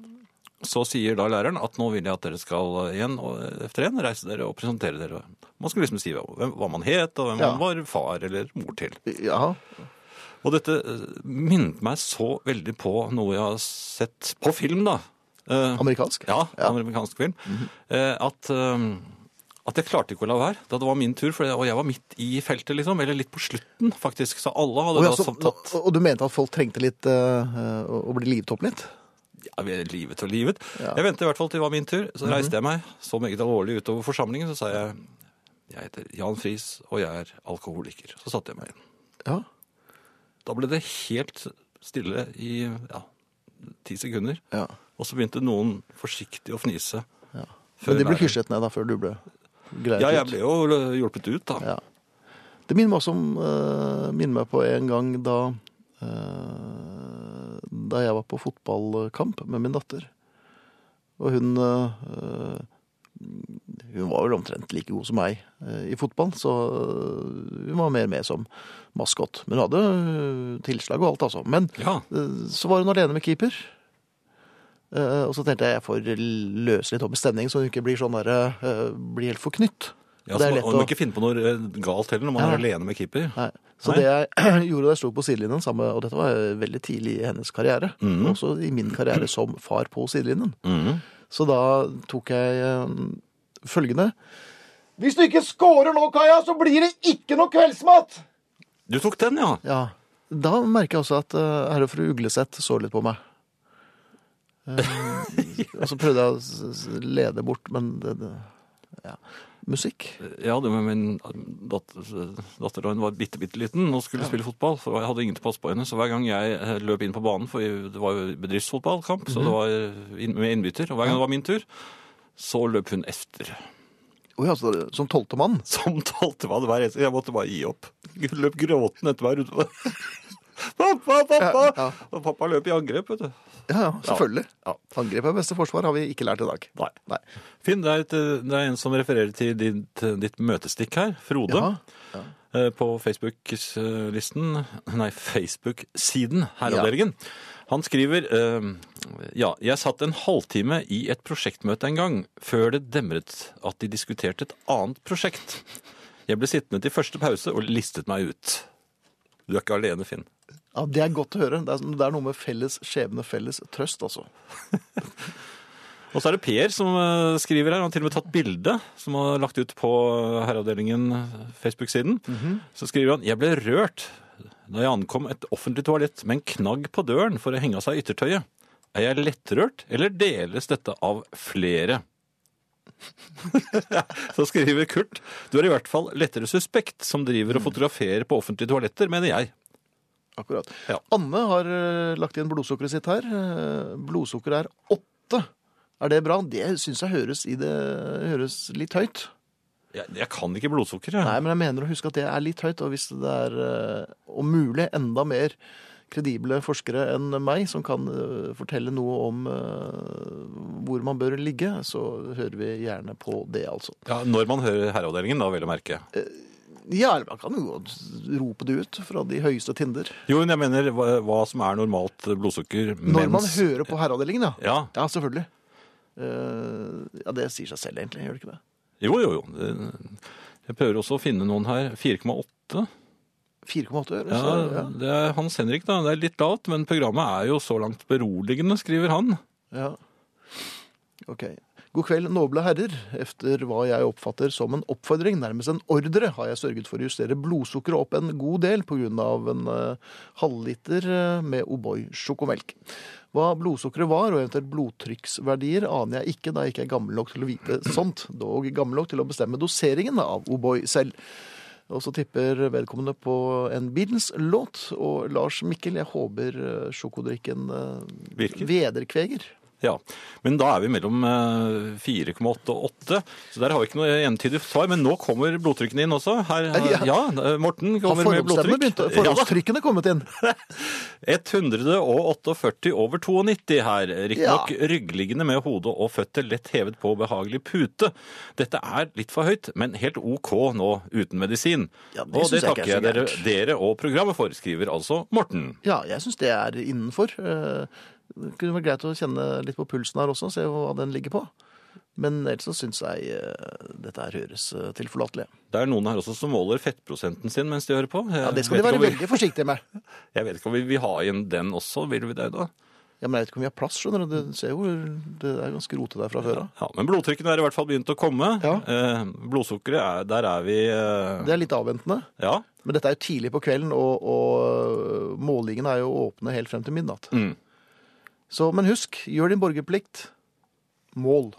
S2: så sier da læreren at nå vil jeg at dere skal eh, igjen og- etter en reise dere og presentere dere. Man skulle liksom si hva, hvem- hva man het, og hvem
S1: Ja.
S2: man var far eller mor til.
S1: Jaha.
S2: Og dette eh, minnet meg så veldig på noe jeg har sett på film, da. Eh,
S1: Amerikansk?
S2: ja,
S1: Ja. Mhm.
S2: amerikansk film. eh, at, eh, at jeg klarte ikke å la være da det var min tur, for jeg, og jeg var midt i feltet, liksom. Eller litt på slutten, faktisk. Så alle hadde
S1: Og,
S2: da
S1: ja, så,
S2: som tatt
S1: og, og du mente at folk trengte litt eh, eh, å å bli livet opp litt?
S2: ja, vi er livet og livet.
S1: Ja. Mhm.
S2: Jeg ventet i hvert fall til det var min tur. Så reiste jeg meg så meget alvorlig utover forsamlingen, så sa jeg jeg heter Jan Friis, og jeg er alkoholiker. Så satte jeg meg igjen.
S1: Ja.
S2: Da ble det helt stille i ja, ti sekunder.
S1: ja.
S2: Og så begynte noen forsiktig å fnise. Før
S1: Men de ble
S2: læreren-
S1: hysjet ned da, før du ble greiet
S2: Ja, jeg
S1: ut?
S2: ble jo hjulpet ut, da.
S1: Ja. Det minner meg også om eh, minner meg på en gang da eh, Da jeg var på fotballkamp med min datter. Og hun eh, Hun var vel omtrent like god som meg eh, i fotball, så eh, hun var mer med som maskot. Men hun hadde eh, tilslag og alt, altså. Men
S2: Ja.
S1: eh, så var hun alene med keeper. Eh, og så tenkte jeg jeg får løse litt opp i stemningen, så hun ikke blir sånn der, eh, blir helt forknytt.
S2: Ja,
S1: Og det er
S2: så man,
S1: lett
S2: man må ikke finne på noe eh, galt heller når man
S1: Nei,
S2: er
S1: nei.
S2: alene med keeper.
S1: Nei. Så
S2: Nei.
S1: det jeg gjorde da jeg sto på sidelinjen sammen med, og dette var veldig tidlig i hennes karriere, også i min karriere som far på sidelinjen,
S2: Mhm.
S1: så da tok jeg eh, følgende. Hvis du ikke scorer nå, Kaja, så blir det ikke noe kveldsmat!
S2: Du tok den, ja.
S1: Ja, da merker jeg også at eh, herre fru Ugleseth så litt på meg. Eh, og så prøvde jeg å s- s- lede bort, men det, det, ja. Musikk.
S2: Jeg hadde med min datter, datter da hun var bitte, bitte liten og skulle spille fotball. For jeg hadde ingen til å passe på henne, så hver gang jeg eh, løp inn på banen, for det var jo bedriftsfotballkamp, så
S1: Mhm.
S2: det var eh, inn- med innbytter, og hver gang det var min tur, så løp hun efter.
S1: Oi, altså, som tolvte mann.
S2: Som talte meg hver eneste Jeg måtte bare gi opp. Hun løp gråtende etter meg rundt meg. Pappa, pappa!
S1: Ja, ja.
S2: Og pappa løp i angrep, vet du.
S1: Ja, ja, selvfølgelig.
S2: Ja.
S1: Angrep er beste forsvar, har vi ikke lært i dag.
S2: Nei.
S1: Nei.
S2: Finn, det er, et, det er en som refererer til ditt, ditt møtestikk her, Frode.
S1: Jaha.
S2: eh, På Facebook-listen, nei, Facebook-siden, herreavdelingen. Han skriver eh, Ja, jeg satt en halvtime i et prosjektmøte en gang, før det demret at de diskuterte et annet prosjekt. Jeg ble sittende til første pause og listet meg ut. Du er ikke alene, Finn.
S1: Ja, Det er godt å høre. Det er, det er noe med felles skjebne, felles trøst, altså.
S2: Og så er det Per som eh, skriver her. Han har til og med tatt bilde som han har lagt ut på eh, Herreavdelingen Facebook-siden. Så skriver han Jeg ble rørt da jeg ankom et offentlig toalett med en knagg på døren for å henge av seg yttertøyet. Er jeg lettrørt, eller deles dette av flere? Så skriver Kurt Du er i hvert fall lettere suspekt som driver og fotograferer på offentlige toaletter, mener jeg.
S1: Akkurat.
S2: Ja.
S1: Anne har eh, lagt igjen blodsukkeret sitt her. Eh, Blodsukkeret er åtte. Er det bra? Det syns jeg høres, i det, høres litt høyt.
S2: Jeg, jeg kan ikke blodsukker, jeg.
S1: Nei, men jeg mener å huske at det er litt høyt, og hvis det er eh, om mulig enda mer kredible forskere enn meg som kan eh, fortelle noe om eh, hvor man bør ligge, så hører vi gjerne på det, altså.
S2: Ja, når man hører Herreavdelingen, da, vel å merke.
S1: Ja, eller man kan jo rope det ut fra de høyeste tinder.
S2: Jo, men jeg mener hva, hva som er normalt blodsukker
S1: Når man
S2: mens
S1: hører på herreavdelingen, ja.
S2: Ja.
S1: Ja, selvfølgelig. Eh, ja, det sier seg selv egentlig, gjør det ikke det?
S2: Jo, jo, jo. Det- Jeg prøver også å finne noen her. 4,8.
S1: 4,8 øre, så ja.
S2: Ja, det er Hans Henrik, da. Det er litt lavt, men programmet er jo så langt beroligende, skriver han.
S1: ja. Ok. God kveld, noble herrer. Efter hva jeg oppfatter som en oppfordring, nærmest en ordre, har jeg sørget for å justere blodsukkeret opp en god del på grunn av en eh, halvliter eh, med O'boy sjokomelk. Hva blodsukkeret var, og eventuelt blodtrykksverdier, aner jeg ikke, da jeg ikke er gammel nok til å vite sånt, dog gammel nok til å bestemme doseringen av O'boy selv. Og så tipper vedkommende på en Beatles låt. Og Lars Mikkel, jeg håper eh, sjokodrikken eh,
S2: Virker.
S1: vederkveger.
S2: Ja, Men da er vi mellom eh, 4,8 og 8, så der har vi ikke noe entydig svar. Men nå kommer blodtrykkene inn også. Her,
S1: Ja.
S2: har- ja, eh, Morten
S1: Har
S2: kommer med
S1: forhåndsstemmene
S2: blodtrykk.
S1: begynt? å-
S2: Ja, da.
S1: Forhåndstrykkene kommet inn?
S2: 148 over 92 her. Riktignok
S1: Ja.
S2: ryggliggende med hodet og føtter lett hevet på behagelig pute. Dette er litt for høyt, men helt OK nå uten medisin.
S1: Ja, det
S2: og
S1: synes
S2: det
S1: jeg ikke
S2: takker
S1: er så
S2: jeg dere,
S1: gærent.
S2: dere og programmet for, skriver altså Morten.
S1: Ja, jeg syns det er innenfor. Eh, Det kunne vært greit å kjenne litt på pulsen her også, se hva den ligger på. Men ellers så syns jeg eh, dette her høres eh, tilforlatelig.
S2: Det er noen her også som måler fettprosenten sin mens de hører på. Jeg
S1: Ja, Det skal
S2: vet
S1: de være
S2: ikke om vi-
S1: veldig forsiktige med.
S2: Jeg vet ikke om vi vil ha igjen den også, vil vi det da?
S1: Ja, Men jeg vet ikke om vi har plass, skjønner du. Du ser jo det er ganske rotete der fra før av.
S2: Ja, Men blodtrykkene er i hvert fall begynt å komme.
S1: Ja.
S2: Eh, blodsukkeret, er, der er vi eh,
S1: Det er litt avventende.
S2: Ja.
S1: Men dette er jo tidlig på kvelden, og, og målingene er jo åpne helt frem til midnatt.
S2: Mm.
S1: Så, men husk, gjør din borgerplikt. Mål.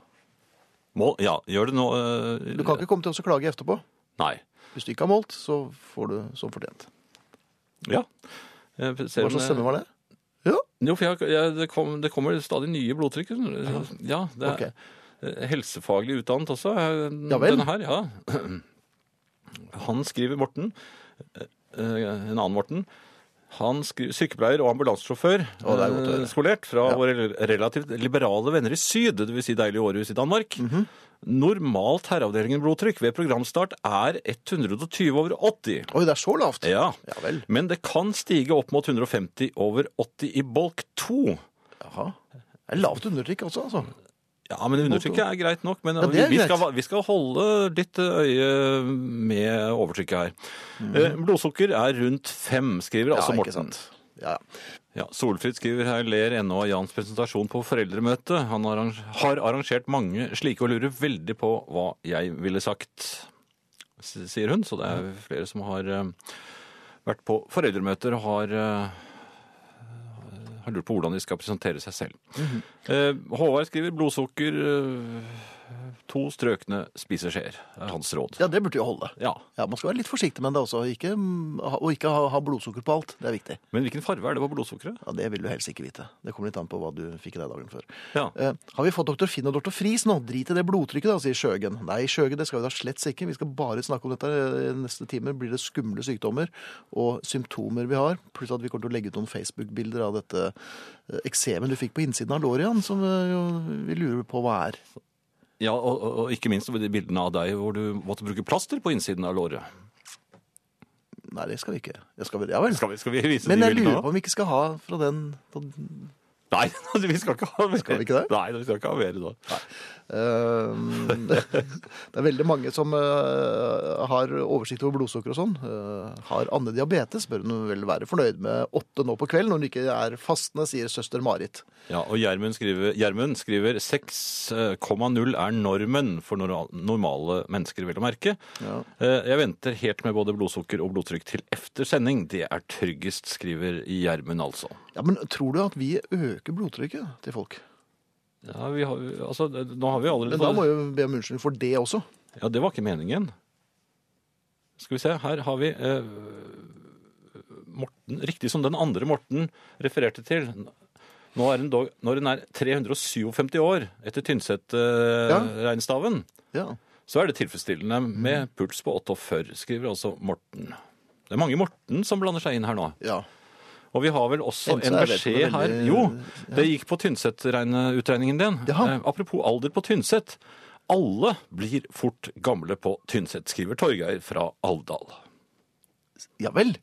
S2: Mål, ja, gjør det nå eh,
S1: Du kan ikke komme til oss og klage etterpå.
S2: Nei.
S1: Hvis du ikke har målt, så får du som fortjent.
S2: Ja. Jeg ser
S1: Hva
S2: Eh, om
S1: slags
S2: jeg-
S1: stemme var det?
S2: eh,
S1: Ja,
S2: Jo, for jeg, jeg, det, kom, det kommer stadig nye blodtrykk. Ja, det er
S1: ok.
S2: eh, helsefaglig utdannet også. eh,
S1: Ja vel.
S2: Denne her, ja. Han skriver Morten, eh, en annen Morten, han skriver, sykepleier og ambulansesjåfør,
S1: Å, det er godt å
S2: eh,
S1: høre.
S2: skolert fra
S1: Ja.
S2: våre relativt liberale venner i syd, det vil si deilig Århus i Danmark.
S1: Mhm.
S2: Normalt herreavdelingen blodtrykk ved programstart er 120 over 80.
S1: Oi, det er så lavt.
S2: Ja.
S1: Ja vel.
S2: Men det kan stige opp mot 150 over 80 i bolk 2.
S1: Jaha. Det er lavt undertrykk også, altså.
S2: Ja, men undertrykket er greit nok. Men
S1: Ja, det er
S2: vi,
S1: greit.
S2: skal, vi skal holde litt øye med overtrykket her. Eh, Blodsukker er rundt fem, skriver
S1: Mhm.
S2: altså
S1: ja, ikke
S2: Morten.
S1: sant. Ja, ja.
S2: Ja, Solfrid skriver her ler ennå av Jans presentasjon på foreldremøte. Han arrang- har arrangert mange slike og lurer veldig på hva jeg ville sagt, s- sier hun. Så det er flere som har eh, vært på foreldremøter og har, eh, har lurt på hvordan de skal presentere seg selv. Eh, Håvard skriver 'blodsukker, eh, to strøkne spiseskjeer'. er hans råd.
S1: ja, det burde jo holde.
S2: Ja,
S1: Ja, Man skal være litt forsiktig med det også, ikke, og ikke ha, ha blodsukker på alt. Det er viktig.
S2: Men hvilken farge er det på blodsukkeret?
S1: Ja, Det vil du helst ikke vite. Det kommer litt an på hva du fikk i deg dagen før.
S2: Ja.
S1: Eh, har vi fått doktor Finn og doktor Friis nå? Drit i det blodtrykket, da, sier Sjøgen. Nei, Sjøgen, det skal vi da slett ikke. Vi skal bare snakke om dette. I Neste time blir det skumle sykdommer og symptomer vi har. Pluss at vi kommer til å legge ut noen Facebook-bilder av dette eh, eksemen du fikk på innsiden av låret, Jan, som eh, jo, vi lurer på hva er.
S2: Ja, og, og- og ikke minst de bildene av deg hvor du måtte bruke plaster på innsiden av låret.
S1: Nei, det skal vi ikke. Jeg skal vel, ja vel.
S2: Skal vi, skal vi vise
S1: Men
S2: de
S1: jeg
S2: bildene
S1: lurer på om vi ikke skal ha fra den fra
S2: Nei, altså, vi skal ikke ha mer.
S1: Skal vi ikke det?
S2: Nei, vi skal ikke ha mer da.
S1: Eh, det er veldig mange som eh, har oversikt over blodsukker og sånn. Eh, har Anne diabetes, bør hun vel være fornøyd med åtte nå på kvelden når hun ikke er fastende, sier søster Marit.
S2: Ja, og Gjermund skriver, Gjermund skriver 6,0 er normen for nor- normale mennesker, vel å merke.
S1: Ja.
S2: Eh, Jeg venter helt med både blodsukker og blodtrykk til efter sending. Det er tryggest, skriver Gjermund altså.
S1: ja, Men tror du at vi øker blodtrykket til folk?
S2: Ja, vi har, altså, nå har vi allerede...
S1: Men da må vi be om unnskyldning for det også.
S2: Ja, det var ikke meningen. Skal vi se, her har vi eh, Morten, riktig som den andre Morten refererte til. Nå er en dog, når en er 357 år etter Tynset-regnstaven,
S1: Ja.
S2: så er det tilfredsstillende med puls på 48, skriver altså Morten. Det er mange Morten som blander seg inn her nå.
S1: ja.
S2: Og vi har vel også
S1: Enten så er
S2: en
S1: dette noe
S2: beskjed her
S1: veldig-
S2: Jo, det gikk på Tynset-utregningen din.
S1: Jaha.
S2: Eh, apropos alder på Tynset. Alle blir fort gamle på Tynset, skriver Torgeir fra Alvdal.
S1: Ja vel.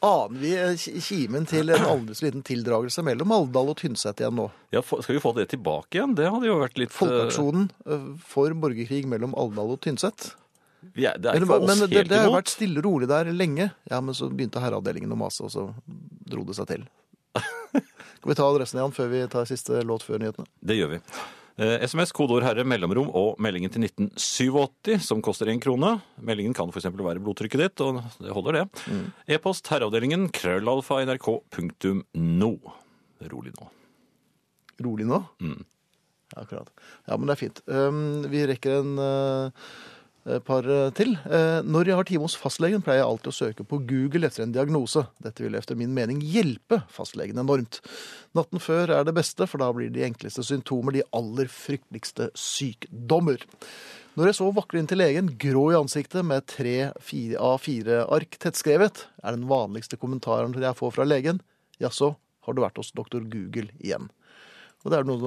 S1: Aner vi eh, ki- kimen til en alders liten tildragelse mellom Alvdal og Tynset igjen nå?
S2: Ja, få- skal vi få det tilbake igjen? Det hadde jo vært litt eh,
S1: Folkeaksjonen eh, for borgerkrig mellom Alvdal og Tynset.
S2: vi er- Det er
S1: Men,
S2: ikke for oss
S1: men det,
S2: helt
S1: det har jo
S2: imot.
S1: vært stille og rolig der lenge. Ja, men så begynte herreavdelingen å mase, og så dro det seg til. Skal vi ta adressen igjen før vi tar siste låt før nyhetene?
S2: Det gjør vi. Eh, SMS, kodeord herre, mellomrom og meldingen til 1987, som koster én krone. Meldingen kan f.eks. være blodtrykket ditt, og det holder, det.
S1: Mm.
S2: E-post herreavdelingen krøllalfa nrk.no. Rolig nå.
S1: Rolig nå?
S2: Mm.
S1: Ja, akkurat. Ja, men det er fint. Um, vi rekker en eh, par eh, til. Eh, når jeg har time hos fastlegen, pleier jeg alltid å søke på Google etter en diagnose. Dette vil efter min mening hjelpe fastlegen enormt. Natten før er det beste, for da blir de enkleste symptomer de aller frykteligste sykdommer. Når jeg så vakler inn til legen, grå i ansiktet med tre A4-ark tettskrevet, er den vanligste kommentaren jeg får fra legen, jaså, har du vært hos doktor Google igjen? Og det er noe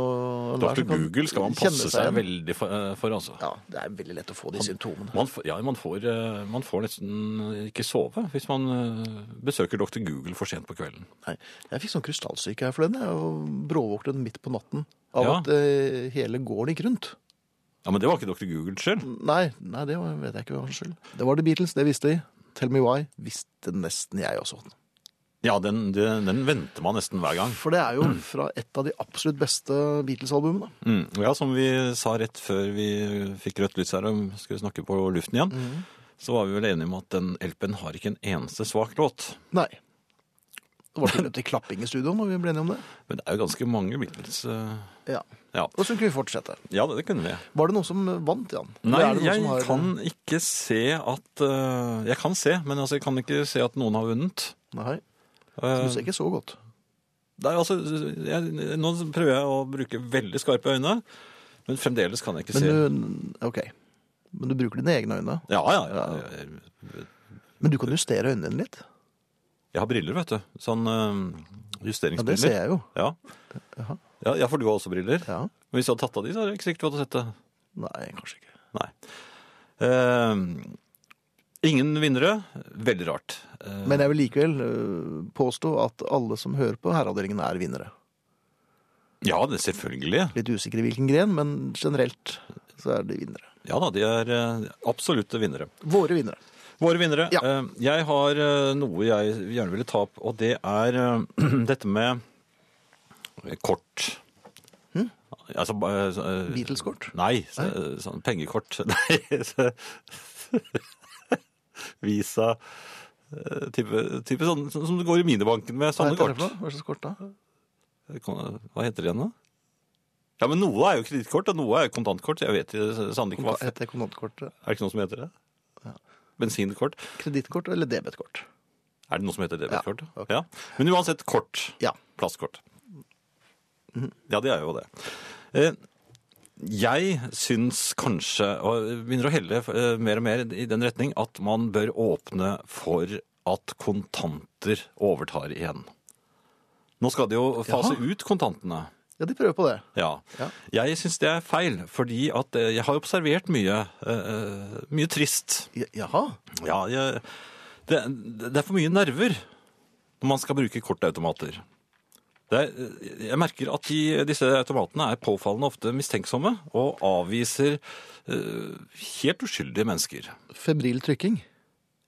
S1: enhver
S2: Dr.
S1: som kan
S2: Google skal man
S1: kjenne
S2: passe seg,
S1: igjen.
S2: veldig for, eh, for altså.
S1: Ja, det er veldig lett å få de symptomene.
S2: Man, får- ja, man får, eh, man får nesten ikke sove hvis man eh, besøker Dr. Google for sent på kvelden.
S1: Nei, jeg fikk sånn krystallsyke her forleden. Jeg og bråvåknet midt på natten av
S2: Ja.
S1: at eh, hele gården gikk rundt.
S2: Ja, Men det var ikke Dr. Google selv.
S1: Nei, nei, det var, vet jeg ikke hva hans skyld. Det var The Beatles, det visste de. Tell Me Why visste nesten jeg også.
S2: Ja, den, den, den venter man nesten hver gang.
S1: For det er jo fra et av de absolutt beste Beatles-albumene.
S2: Mm. Ja, som vi sa rett før vi fikk rødt lys her og skulle snakke på luften igjen, så var vi vel enige om at den LP-en har ikke en eneste svak låt.
S1: Nei. Det var tilløp til klapping i studio når vi ble enige om det.
S2: Men det er jo ganske mange Beatles. eh,
S1: Ja.
S2: Ja,
S1: Og så kunne vi fortsette.
S2: ja det, det kunne vi.
S1: Var det noen som vant, Jan? Eller
S2: Nei,
S1: er det noen
S2: jeg
S1: som har-
S2: kan ikke se at eh, Jeg kan se, men altså, jeg kan ikke se at noen har vunnet.
S1: Nei,
S2: Eh,
S1: du ser ikke så godt.
S2: Det er altså, jeg, nå prøver jeg å bruke veldig skarpe øyne, men fremdeles kan jeg ikke
S1: Men
S2: se.
S1: du, ok. Men du bruker dine egne øyne.
S2: Ja, ja, ja. Jeg,
S1: Men du kan justere øynene dine litt.
S2: jeg har briller, vet du. Sånn eh,
S1: Ja, det ser
S2: justeringsbriller.
S1: jeg jo.
S2: Ja,
S1: Jaha.
S2: ja, ja, for du har også briller.
S1: Ja.
S2: Men hvis du hadde tatt av de, så er det ikke sikkert du hadde sett det.
S1: Nei, kanskje ikke.
S2: Nei. Eh, ingen vinnere. Veldig rart. Eh,
S1: Men jeg vil likevel øh, påstå at alle som hører på herreavdelingen, er vinnere.
S2: ja, det er selvfølgelig.
S1: Litt usikker i hvilken gren, men generelt så er de vinnere.
S2: Ja da, de er eh, absolutte vinnere.
S1: Våre vinnere.
S2: Våre vinnere.
S1: Ja.
S2: Eh, Jeg har eh, noe jeg gjerne ville ta opp, og det er eh, dette med kort. Altså, ba- eh,
S1: Hm? Beatles-kort.
S2: Nei, så- eh, sånn pengekort. Nei, så- Visa. eh, Type, type sånn, sånn som du går i minibanken med sånne
S1: Hva heter det
S2: kort.
S1: for noe? Hva slags kort da?
S2: Kon- Hva heter det igjen da? Ja, men noe er jo kredittkort, og noe er jo kontantkort. Jeg vet jo sannelig ikke hva.
S1: Konta-
S2: Er
S1: Heter det kontantkort?
S2: det ikke noe som heter det? Bensinkort.
S1: Kredittkort eller debetkort?
S2: Er det noe som heter debetkort? Ja,
S1: Ja, ok.
S2: Men uansett kort.
S1: Ja.
S2: Plastkort. Ja, det er jo det. Eh, Jeg syns kanskje, og begynner å helle eh, mer og mer i den retning, at man bør åpne for at kontanter overtar igjen. Nå skal de jo fase ut kontantene.
S1: Ja, de prøver på det.
S2: Ja.
S1: Ja.
S2: Jeg syns det er feil, fordi at eh, jeg har observert mye, eh, eh, mye trist.
S1: Ja, Jaha.
S2: Ja, jeg, det, det er for mye nerver når man skal bruke kortautomater. Det er, jeg merker at de, disse automatene er påfallende ofte mistenksomme og avviser eh, helt uskyldige mennesker.
S1: Febril trykking.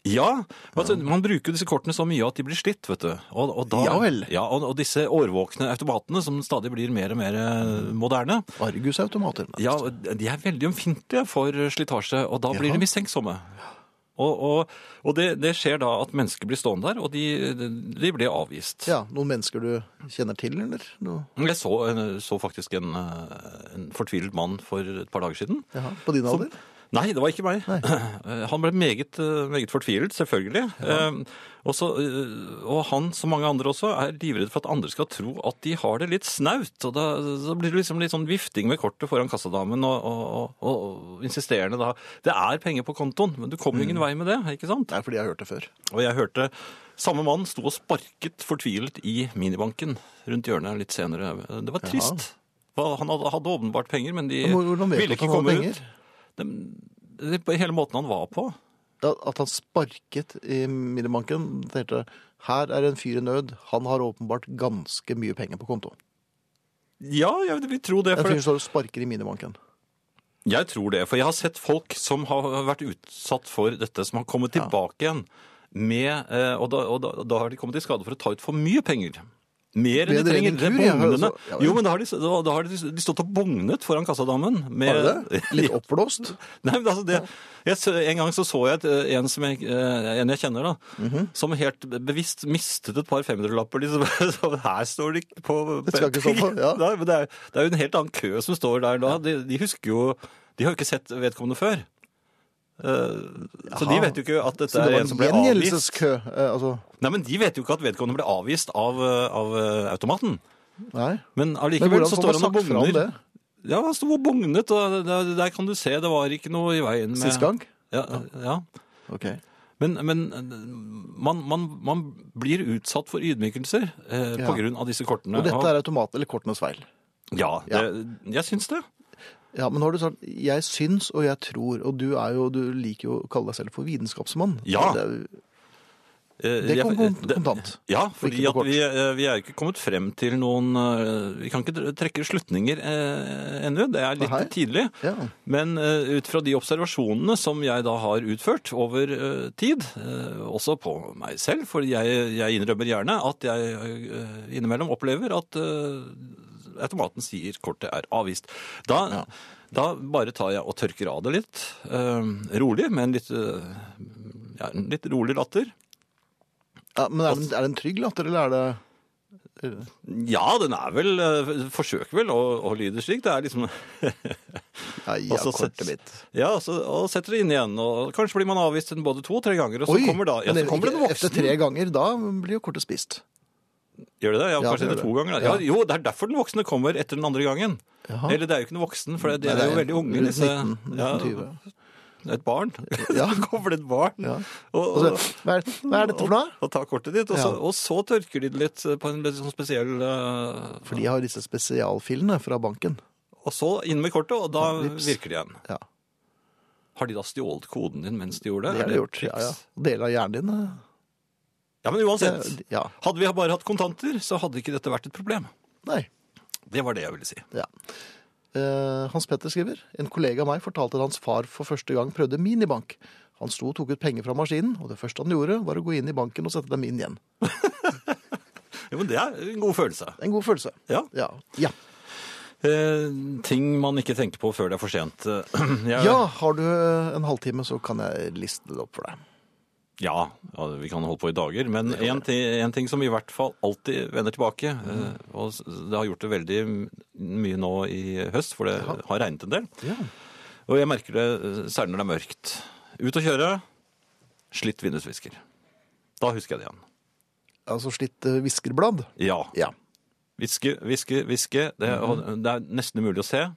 S2: Ja, altså, man bruker jo disse kortene så mye at de blir slitt, vet du. Og, og, da,
S1: Ja vel.
S2: Ja, og, og disse årvåkne automatene som stadig blir mer og mer eh, moderne,
S1: Argusautomater.
S2: ja, de er veldig omfintlige for slitasje, og da blir
S1: Jaha.
S2: de mistenksomme. Og, og, og det, det skjer da at mennesker blir stående der, og de, de blir avvist.
S1: Ja, Noen mennesker du kjenner til, eller? Noe?
S2: Jeg så, så faktisk en, eh, en fortvilet mann for et par dager siden.
S1: Jaha, på din
S2: Som-
S1: alder?
S2: Nei, det var ikke meg. Eh, Han ble meget, eh, meget fortvilet, selvfølgelig. Eh, og så, eh, og han, som mange andre også, er livredd for at andre skal tro at de har det litt snaut. Og da så blir det liksom litt sånn vifting med kortet foran kassadamen og, og, og, og insisterende da. Det er penger på kontoen, men du
S1: Mm.
S2: kommer jo ingen vei med det, ikke sant?
S1: Det er fordi jeg har hørt det før.
S2: Og jeg hørte samme mann sto og sparket fortvilet i minibanken rundt hjørnet litt senere. Det var trist. Hva- Han hadde, hadde åpenbart penger, men de
S1: Hvordan vet du
S2: ville
S1: at
S2: ikke
S1: han hadde
S2: komme
S1: penger?
S2: ut. Det- på Hele måten han var på.
S1: Da, at han sparket i minibanken, tenkte her er en fyr i nød, han har åpenbart ganske mye penger på konto.
S2: Ja, jeg vil tro det.
S1: En
S2: For
S1: fyr som står og sparker i minibanken.
S2: jeg tror det, for jeg har sett folk som har vært utsatt for dette, som har kommet
S1: Ja.
S2: tilbake igjen med eh, Og, da, og da, da har de kommet i skade for å ta ut for mye penger. Mer enn de
S1: Bedre enn
S2: trenger.
S1: en
S2: Det
S1: kur, ja,
S2: bugnende.
S1: altså. Ja, vel.
S2: Jo, men da har de, da, da har de, de stått og bugnet foran kassadamen. med-
S1: Har du det? Litt oppblåst?
S2: Nei, men altså det, jeg, så- en gang så så jeg et, eh, en, som jeg, eh, en jeg kjenner, da,
S1: Mhm.
S2: som helt bevisst mistet et par 500-lapper. Liksom. Så her står de ikke på
S1: Det skal ikke stå på, ja.
S2: Nei, men det, er, det er jo en helt annen kø som står der da. De, de husker jo De har jo ikke sett vedkommende før. Eh, så de
S1: Jaha.
S2: vet jo ikke at dette
S1: Så det
S2: er
S1: var
S2: en
S1: en
S2: som ble avvist.
S1: gjengjeldelseskø? eh, Altså,
S2: Nei, men De vet jo ikke at vedkommende ble avvist av, eh, av eh, automaten.
S1: nei.
S2: Men
S1: Men
S2: allikevel
S1: hvordan
S2: så
S1: får
S2: står
S1: man
S2: han og
S1: sagt fra om det?
S2: bugner. Ja, han sto og bugnet, og der, der kan du se, det var ikke noe i veien med
S1: Sist gang?
S2: Ja, ja.
S1: Ok.
S2: Men, men man, man, man blir utsatt for ydmykelser eh,
S1: Ja.
S2: på grunn av disse kortene.
S1: Og dette er automat, eller kortenes feil.
S2: Ja, det, jeg syns det.
S1: Ja, men nå har du sagt, jeg syns og jeg tror, og du, er jo, du liker jo å kalle deg selv for vitenskapsmann.
S2: Ja.
S1: Det, er-
S2: Eh,
S1: det
S2: jeg-
S1: kom kon-
S2: det-
S1: kontant.
S2: Ja,
S1: og
S2: fordi
S1: ikke
S2: at
S1: på
S2: vi, eh, vi er ikke kommet frem til noen eh, Vi kan ikke dre- trekke slutninger eh, ennå. Det er litt
S1: Nei.
S2: tidlig.
S1: Ja.
S2: Men eh, ut fra de observasjonene som jeg da har utført over eh, tid, eh, også på meg selv, for jeg, jeg innrømmer gjerne at jeg eh, innimellom opplever at eh, automaten sier kortet er avvist. Da, da bare tar jeg og tørker av det litt, eh, rolig, med en litt, eh, ja, en litt rolig latter.
S1: Ja, men er det, er det en trygg latter, eller er det
S2: Ja, den er vel eh, Forsøker vel å, å lyde slik. Det er liksom
S1: Nei, ja,
S2: Og så
S1: kortet
S2: sett-
S1: mitt.
S2: Ja, så, og setter det inn igjen. Og kanskje blir man avvist en både to og tre ganger, og så kommer da ja,
S1: men
S2: så kommer det en
S1: ikke- Etter
S2: voksen.
S1: tre ganger, da blir jo kortet spist.
S2: Gjør det det? Ja,
S1: Ja, det
S2: kanskje
S1: gjør
S2: etter to
S1: det.
S2: ganger. da. Ja, jo, det er derfor den voksne kommer etter den andre gangen.
S1: Jaha.
S2: Eller det er jo ikke en voksen, for det, det
S1: Nei,
S2: er jo veldig unge.
S1: rundt
S2: Disse,
S1: 19, 1920.
S2: et barn.
S1: Ja.
S2: Da kommer det et barn.
S1: Ja.
S2: Og,
S1: Altså, hva, er, hva er dette for noe?
S2: og, og tar kortet ditt, og, så,
S1: Ja.
S2: og så tørker de det litt på en litt sånn spesiell eh,
S1: For de har disse spesialfilene fra banken.
S2: Og så inn med kortet, og da
S1: Ja, vips.
S2: virker det igjen.
S1: Ja,
S2: Har de da stjålet koden din mens de
S1: det
S2: gjorde det?
S1: har de gjort. Ja, ja.
S2: triks?
S1: Deler av hjernen din. eh,
S2: Ja, men uansett.
S1: det- Ja,
S2: Hadde vi bare hatt kontanter, så hadde ikke dette vært et problem.
S1: nei.
S2: Det var det jeg ville si.
S1: Ja. Eh, Hans Petter skriver En kollega av meg fortalte at hans far for første gang prøvde minibank. Han sto og tok ut penger fra maskinen, og det første han gjorde, var å gå inn i banken og sette dem inn igjen.
S2: Jo, men det er en god følelse.
S1: En god følelse.
S2: Ja.
S1: Ja. Ja,
S2: Eh, ting man ikke tenker på før det er for sent. Eh, jeg-
S1: ja har du eh, en halvtime, så kan jeg liste det opp for deg.
S2: ja, ja, vi kan holde på i dager, men en, ti- en ting som i hvert fall alltid vender tilbake, eh, og s- det har gjort det veldig m- mye nå i høst, for det har regnet en del,
S1: Ja.
S2: og jeg merker det eh, særlig når det er mørkt. Ut og kjøre, slitt vindusvisker. Da husker jeg det igjen.
S1: Altså slitt eh, viskerblad.
S2: Ja,
S1: Ja.
S2: Hviske, hviske, hviske. Det,
S1: Mhm.
S2: og det er nesten umulig å se.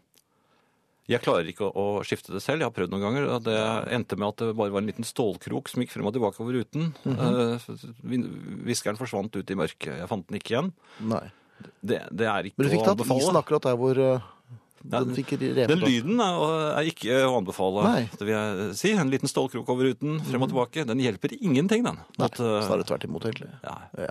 S2: Jeg klarer ikke å, å skifte det selv. Jeg har prøvd noen ganger. og Det endte med at det bare var en liten stålkrok som gikk frem og tilbake over ruten.
S1: Mhm.
S2: Eh, vin- Hviskeren forsvant ut i mørket. Jeg fant den ikke igjen.
S1: Nei.
S2: Det, det er ikke
S1: Men du fikk
S2: å
S1: tatt isen
S2: anbefale.
S1: akkurat der hvor eh,
S2: Nei,
S1: den fikk revet
S2: Den
S1: opp.
S2: lyden er, er ikke å anbefale,
S1: Nei. Mhm.
S2: det vil jeg si. En liten stålkrok over ruten, frem og tilbake. Den hjelper ingenting, den.
S1: Nei,
S2: At, eh,
S1: snarere tvert imot, egentlig.
S2: ja.
S1: Ja.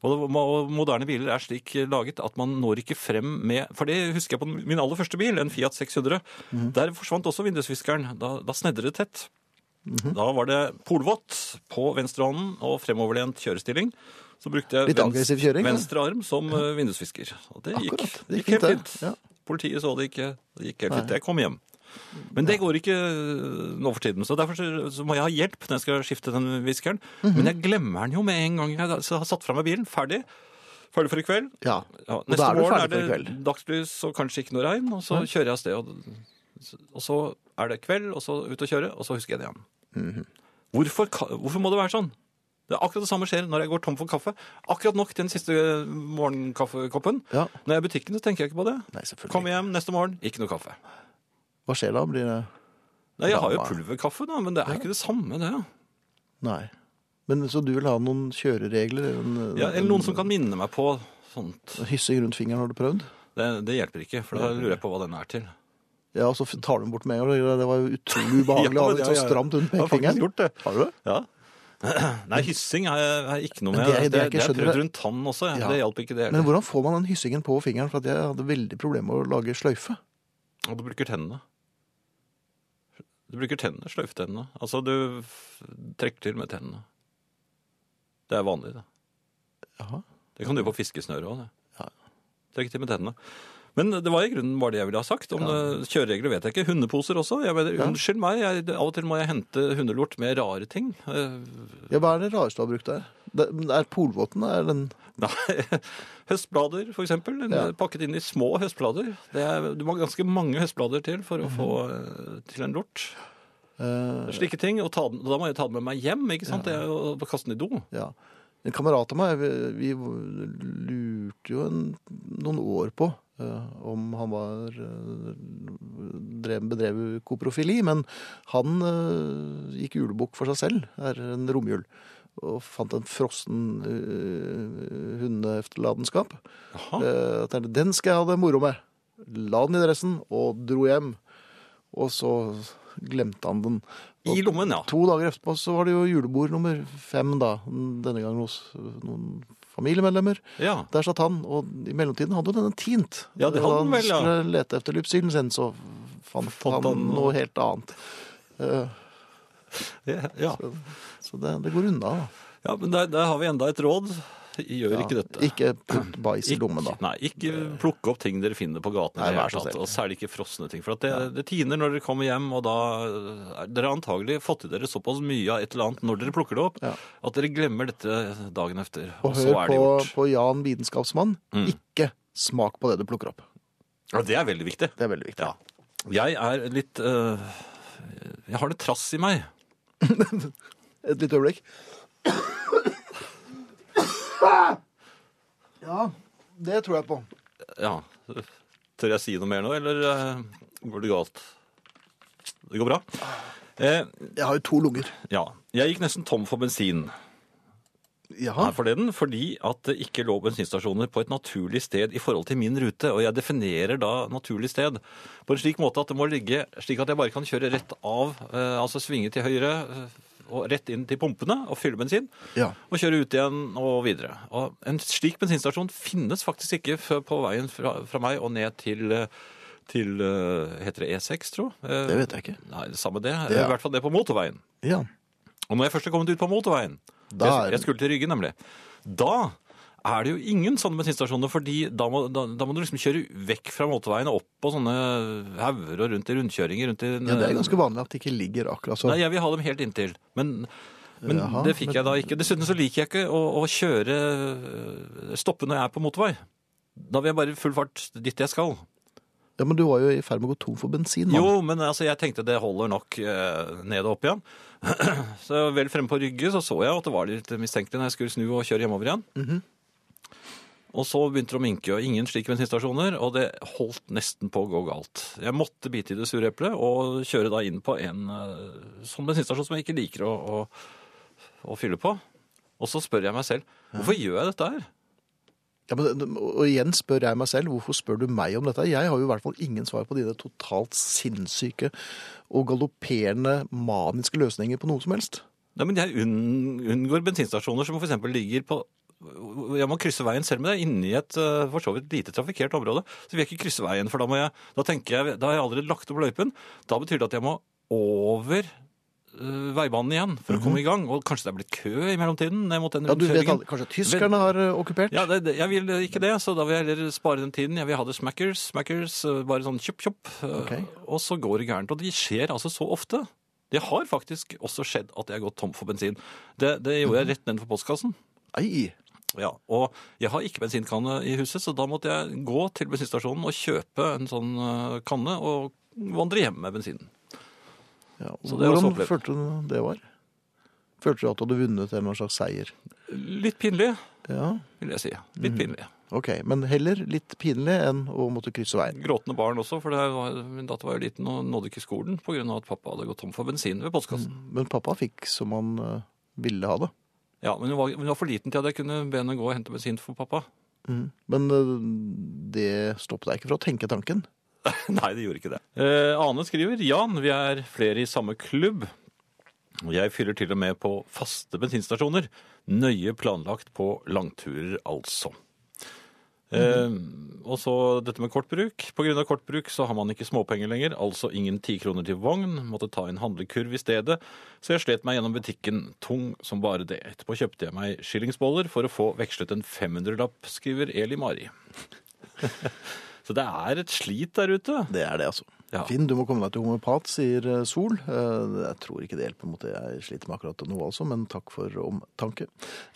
S2: Og det- og moderne biler er slik laget at man når ikke frem med For det husker jeg på min aller første bil, en Fiat 600.
S1: Mhm.
S2: Der forsvant også vindusviskeren. Da, da snedret det tett.
S1: Mhm.
S2: Da var det polvått på venstrehånden og fremoverlent kjørestilling. Så brukte jeg
S1: Litt aggressiv kjøring, da.
S2: venstre arm som eh, vindusvisker. Og det gikk,
S1: Akkurat.
S2: det gikk helt fint.
S1: det, ja.
S2: Politiet så det ikke. Det gikk helt fint. Jeg kom hjem. Men det går ikke eh, nå for tiden, så derfor så- så må jeg ha hjelp når jeg skal skifte den viskeren.
S1: Mhm.
S2: Men jeg glemmer den jo med en gang jeg da- så har satt fra meg bilen. Ferdig. Ferdig for i kveld.
S1: Ja.
S2: Ja,
S1: Og da
S2: neste
S1: er du
S2: morgen er
S1: ferdig for i
S2: det
S1: kveld.
S2: dagslys og kanskje ikke noe regn, og så kjører jeg av sted. Og, og så er det kveld, og så ut og kjøre, og så husker jeg det igjen.
S1: Mhm.
S2: Hvorfor, ka- hvorfor må det være sånn? Det er akkurat det samme skjer når jeg går tom for kaffe. Akkurat nok til den siste eh, morgenkaffekoppen.
S1: Ja.
S2: Når jeg er i butikken, så tenker jeg ikke på det.
S1: Nei, selvfølgelig.
S2: Kommer hjem neste morgen, ikke noe kaffe.
S1: Hva skjer da? Blir det
S2: Nei, jeg har jo
S1: Dama.
S2: pulverkaffe, da, men det er jo ikke det samme, det.
S1: Nei. Men Så du vil ha noen kjøreregler? En,
S2: Ja, eller noen som kan minne meg på sånt.
S1: Hyssing rundt fingeren har du prøvd?
S2: Det, det hjelper ikke, for da lurer jeg på hva den er til.
S1: Ja, og så f- tar du den bort med en gang. og Det var jo utrolig ubehagelig å ha
S2: Ja,
S1: det
S2: ja,
S1: så
S2: ja.
S1: stramt rundt
S2: Jeg har faktisk
S1: pekefingeren.
S2: gjort det.
S1: Har du det?
S2: Ja. Nei, hyssing er, er ikke noe
S1: Men
S2: med.
S1: det
S2: Det,
S1: er-
S2: det,
S1: det er ikke-
S2: det er
S1: skjønner
S2: prøvd
S1: du-
S2: rundt tann også, ja.
S1: Ja.
S2: det hjalp ikke det
S1: Men
S2: heller.
S1: hvordan får man den hyssingen på fingeren? For at jeg hadde veldig problemer med å lage sløyfe.
S2: Og du bruker tennene. Du bruker tennene, sløyftennene. Altså, du f- trekker til med tennene. Det er vanlig, det.
S1: Jaha.
S2: Det kan du gjøre på fiskesnøret òg.
S1: Ja.
S2: Trekke til med tennene. Men det var i grunnen bare det jeg ville ha sagt. Om eh, Kjøreregler vet jeg ikke. Hundeposer også. Jeg mener, Unnskyld meg, jeg, av og til må jeg hente hundelort med rare ting. Eh,
S1: Ja, hva er det rareste du har brukt der? Det men er polvotten er den
S2: Nei, høstblader for eksempel, en-
S1: Ja.
S2: pakket inn i små høstblader. Det er, du må ha ganske mange høstblader til for å få eh, til en lort.
S1: Mhm. eh,
S2: Slike ting, og ta, den- da må jeg ta den med meg hjem, ikke sant? Det er jo å kaste den i do.
S1: Ja. En kamerat av meg, vi, vi lurte jo en, noen år på eh, om han var eh, drev, bedrev koprofili, men han eh, gikk julebukk for seg selv, er en romjul, og fant en frossen uh, hundeefterladenskap.
S2: Jaha,
S1: Eh, og tenkte, den skal jeg ha det moro med. La den i dressen, og dro hjem. Og så glemte han den. Og
S2: I lommen, ja.
S1: To dager etterpå så var det jo julebord nummer fem, da. Denne gangen hos noen familiemedlemmer.
S2: Ja,
S1: Der satt han, og i mellomtiden hadde jo denne tint.
S2: Ja, det hadde
S1: Da
S2: han vel, ja.
S1: skulle lete etter lypsylen sin, så fant,
S2: Fant
S1: han
S2: han-
S1: noe helt annet. Eh,
S2: ja. ja.
S1: Så det, det går unna, da.
S2: ja men der, der har vi enda et råd. Gjør
S1: Ja,
S2: ikke dette.
S1: Ikke putt bæsj i lommen, da. Eh.
S2: Nei, ikke plukke opp ting dere finner på gaten. i
S1: Nei,
S2: det hele
S1: vær så
S2: tatt,
S1: snill.
S2: Og særlig ikke frosne ting. For at det, det tiner når dere kommer hjem, og da eh, er- Dere har antagelig fått i dere såpass mye av et eller annet når dere plukker det opp,
S1: Ja.
S2: at dere glemmer dette dagen etter.
S1: Og hør på, på Jan Vitenskapsmann.
S2: Mm.
S1: Ikke smak på det du plukker opp.
S2: Ja, det er veldig viktig.
S1: Det er veldig viktig.
S2: Ja. Jeg er litt øh, Jeg har det trass i meg.
S1: Et lite øyeblikk. Ja, det tror jeg på.
S2: Ja. Tør jeg si noe mer nå, eller øh, går det galt? Det går bra. Eh,
S1: Jeg har jo to lunger.
S2: ja. Jeg gikk nesten tom for bensin.
S1: Jaha.
S2: her forleden, fordi at det ikke lå bensinstasjoner på et naturlig sted i forhold til min rute, og jeg definerer da naturlig sted på en slik måte at det må ligge slik at jeg bare kan kjøre rett av, eh, altså svinge til høyre eh, og rett inn til pumpene og fylle bensin,
S1: Ja.
S2: og kjøre ut igjen og videre. Og en slik bensinstasjon finnes faktisk ikke før på veien fra, fra meg og ned til eh, til, eh, heter det E6, tro? Eh,
S1: Det vet jeg ikke.
S2: Nei, samme det.
S1: Ja.
S2: I hvert fall det på motorveien.
S1: Ja.
S2: Og når jeg først er kommet ut på motorveien,
S1: Da er-
S2: jeg, jeg skulle til Rygge nemlig, da er det jo ingen sånne bensinstasjoner, fordi da må, da, da må du liksom kjøre vekk fra motorveien og opp på sånne hauger og rundt i rundkjøringer. Rundt i,
S1: ja, det er ganske vanlig at de ikke ligger akkurat sånn.
S2: Nei, jeg vil ha dem helt inntil. Men, men
S1: Jaha,
S2: det fikk
S1: men-
S2: jeg da ikke. Dessuten så liker jeg ikke å, å kjøre øh, stoppe når jeg er på motorvei. Da vil jeg bare full fart dit jeg skal.
S1: Ja, Men du var jo i ferd med å gå tom for bensin. mann.
S2: Jo, men altså, jeg tenkte det holder nok eh, ned og opp igjen. så vel fremme på Rygge så, så jeg at det var litt mistenkelig når jeg skulle snu og kjøre hjemover igjen. Og så begynte det å minke, og ingen slike bensinstasjoner, og det holdt nesten på å gå galt. Jeg måtte bite i det sure eplet og kjøre da inn på en eh, sånn bensinstasjon som jeg ikke liker å, å, å fylle på. Og så spør jeg meg selv, hvorfor gjør jeg dette her?
S1: Ja, men, og igjen spør jeg meg selv, hvorfor spør du meg om dette? Jeg har jo i hvert fall ingen svar på dine totalt sinnssyke og galopperende maniske løsninger på noe som helst.
S2: Nei, men jeg unn, unngår bensinstasjoner som for eksempel ligger på jeg må krysse veien selv om det er inni et eh, for så vidt lite trafikkert område. Så vil jeg ikke krysse veien, for da, må jeg, da tenker jeg, da har jeg allerede lagt opp løypen. Da betyr det at jeg må over eh, veibanen igjen for å komme i gang. Og kanskje det er blitt kø i mellomtiden ned mot den
S1: Mhm. Ja, du vet
S2: rundkjøringen.
S1: aldri. Kanskje tyskerne har eh, okkupert?
S2: Ja, det, det- jeg vil ikke det, så da vil jeg heller spare den tiden. Jeg vil ha det smackers, smackers, eh, bare sånn kjopp, kjopp. eh,
S1: Ok.
S2: Og så går det gærent. Og det skjer altså så ofte. Det har faktisk også skjedd at jeg har gått tom for bensin. Det, det gjorde jeg rett nedenfor postkassen.
S1: Ei.
S2: Ja, og jeg har ikke bensinkanne i huset, så da måtte jeg gå til bensinstasjonen og kjøpe en sånn eh, kanne og vandre hjem med bensinen.
S1: Ja.
S2: det er også
S1: Hvordan
S2: opplevd.
S1: følte du det var? Følte du at du hadde vunnet en eller annen slags seier?
S2: Litt pinlig,
S1: Ja,
S2: vil jeg si. Litt pinlig.
S1: ok. Men heller litt pinlig enn å måtte krysse veien.
S2: Gråtende barn også, for det var, min datter var jo liten og nådde ikke skolen pga. at pappa hadde gått tom for bensin ved postkassen.
S1: Men pappa fikk som han eh, ville ha det.
S2: Ja, men hun var, hun var for liten til at jeg kunne be henne gå og hente bensin for pappa.
S1: Mhm. Men eh, det stoppet deg ikke fra å tenke tanken.
S2: Nei, det gjorde ikke det. Eh, Ane skriver Jan, vi er flere i samme klubb. Og Jeg fyller til og med på faste bensinstasjoner. Nøye planlagt på langturer, altså. Eh, og så dette med kortbruk. På grunn av kortbruk så har man ikke småpenger lenger, altså ingen ti kroner til vogn. Måtte ta en handlekurv i stedet, så jeg slet meg gjennom butikken, tung som bare det. Etterpå kjøpte jeg meg skillingsboller for å få vekslet en 500-lapp, skriver Eli Mari. så det er et slit der ute.
S1: Det er det, altså.
S2: Ja.
S1: Finn, du må komme deg til homopat, sier eh, Sol. Eh, Jeg tror ikke det hjelper mot det jeg sliter med akkurat nå, altså, men takk for omtanke.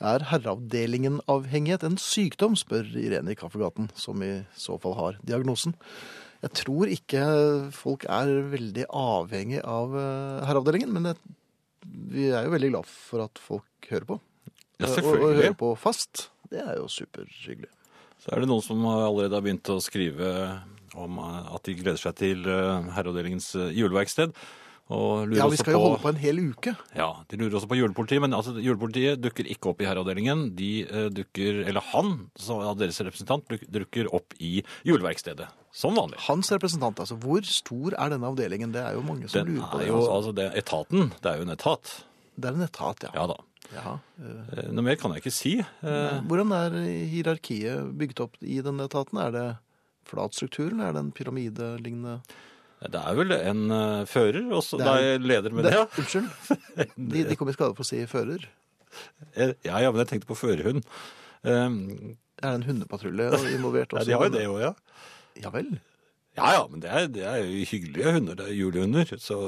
S1: Er herreavdelingen avhengighet en sykdom, spør Irene i Kaffegaten, som i så fall har diagnosen. Jeg tror ikke folk er veldig avhengig av eh, herreavdelingen, men jeg, vi er jo veldig glad for at folk hører på.
S2: Ja,
S1: Eh, Og, og hører på fast. Det er jo superhyggelig.
S2: Så er det noen som allerede har begynt å skrive om eh, at de gleder seg til eh, herreavdelingens eh, juleverksted. Og lurer
S1: Ja, vi
S2: også
S1: skal jo holde på en hel uke.
S2: Ja, De lurer også på julepolitiet, men altså, julepolitiet dukker ikke opp i herreavdelingen. De eh, dukker, eller han, som er deres representant, duk- dukker opp i juleverkstedet. Som vanlig.
S1: Hans representant, altså. Hvor stor er denne avdelingen? Det er jo mange som
S2: Den
S1: lurer på
S2: er
S1: det.
S2: jo
S1: altså.
S2: altså det, er etaten. Det er jo en etat.
S1: Det er en etat, ja.
S2: Ja da.
S1: Jaha. Eh,
S2: Eh, Noe mer kan jeg ikke si. Eh,
S1: Hvordan er hierarkiet bygget opp i denne etaten? Er det flat struktur, eller er det en pyramidelignende
S2: Det er vel en eh, fører, og så
S1: Det
S2: Nei,
S1: er-
S2: leder, men
S1: Det-
S2: ja.
S1: Unnskyld. De, de kom i skade for å si fører.
S2: Eh, Ja, ja, men jeg tenkte på førerhund. Eh,
S1: Er det en hundepatrulje involvert
S2: Ja,
S1: også?
S2: de har jo det òg, ja.
S1: Ja vel.
S2: Ja ja, men det er, det er jo hyggelige hunder. Det er julehunder, så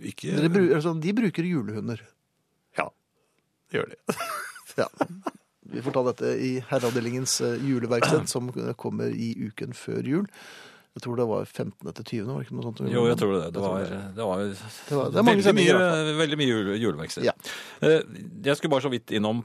S2: ikke
S1: Dere bru- altså, de bruker julehunder.
S2: Ja, det gjør de.
S1: Ja. Vi får ta dette i herreavdelingens eh, juleverksted, som kommer i uken før jul. Jeg tror det var 15. til 20., var det ikke noe sånt?
S2: Jo, jeg tror det. Det
S1: Jeg tror
S2: var,
S1: det.
S2: det var,
S1: var- det er mange
S2: veldig,
S1: sendinger, i
S2: mye, veldig mye jule, juleverksted.
S1: Ja.
S2: Eh, Jeg skulle bare så vidt innom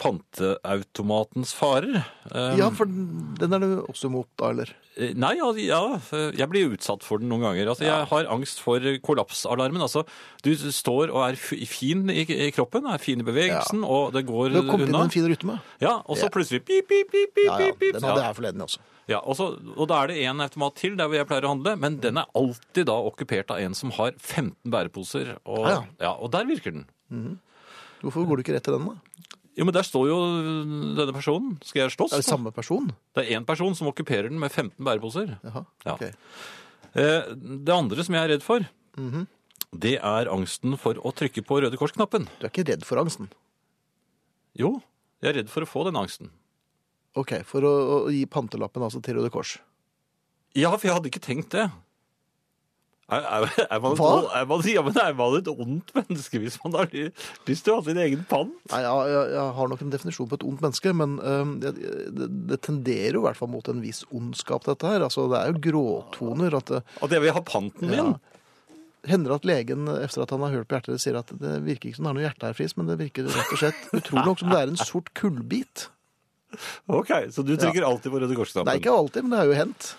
S2: panteautomatens farer. Eh,
S1: Ja, for den den er du også imot, da, eller?
S2: Eh, Nei, al- ja, eh, jeg blir utsatt for den noen ganger. Altså, Jeg har angst for kollapsalarmen. Altså, du står og er f- fin i, i kroppen, er fin i bevegelsen, og det går
S1: Du har kommet inn i
S2: unna.
S1: en fin rytme.
S2: Ja, og så
S1: Ja.
S2: plutselig pip, pip, pip, pip,
S1: Ja, ja,
S2: pip, pip.
S1: den hadde jeg forleden også.
S2: Ja, og, så, og da er det en automat til der hvor jeg pleier å handle, men den er alltid da okkupert av en som har 15 bæreposer, og, ja,
S1: Ah, Ja,
S2: og der virker den.
S1: Hvorfor går du ikke rett til den, da?
S2: Jo, men der står jo denne personen. Skal jeg slåss?
S1: Er det
S2: da?
S1: samme person?
S2: Det er én person som okkuperer den med 15 bæreposer.
S1: Jaha,
S2: Ja.
S1: ok.
S2: Eh, Det andre som jeg er redd for,
S1: Mhm.
S2: det er angsten for å trykke på Røde Kors-knappen.
S1: Du er ikke redd for angsten?
S2: Jo, jeg er redd for å få den angsten.
S1: Ok, for å, å gi pantelappen altså til Røde Kors.
S2: Ja, for jeg hadde ikke tenkt det. Er, er, er, man, et,
S1: Hva?
S2: er, man, ja, men er man et ondt menneske hvis man har ly- lyst til å ha sin egen pant?
S1: Nei, jeg, jeg, jeg har nok en definisjon på et ondt menneske, men øhm, det, det, det tenderer jo i hvert fall mot en viss ondskap, dette her. Altså, det er jo gråtoner at det
S2: At jeg vil ha panten min?
S1: hender at legen, efter at han har hørt på hjertet, sier at det virker ikke som det er noe hjertearfris, men det virker rett og slett utrolig nok som det er en sort kullbit.
S2: Ok, så du trykker alltid på Røde
S1: Nei,
S2: Kors-knappen?
S1: ikke alltid, men det har jo hendt.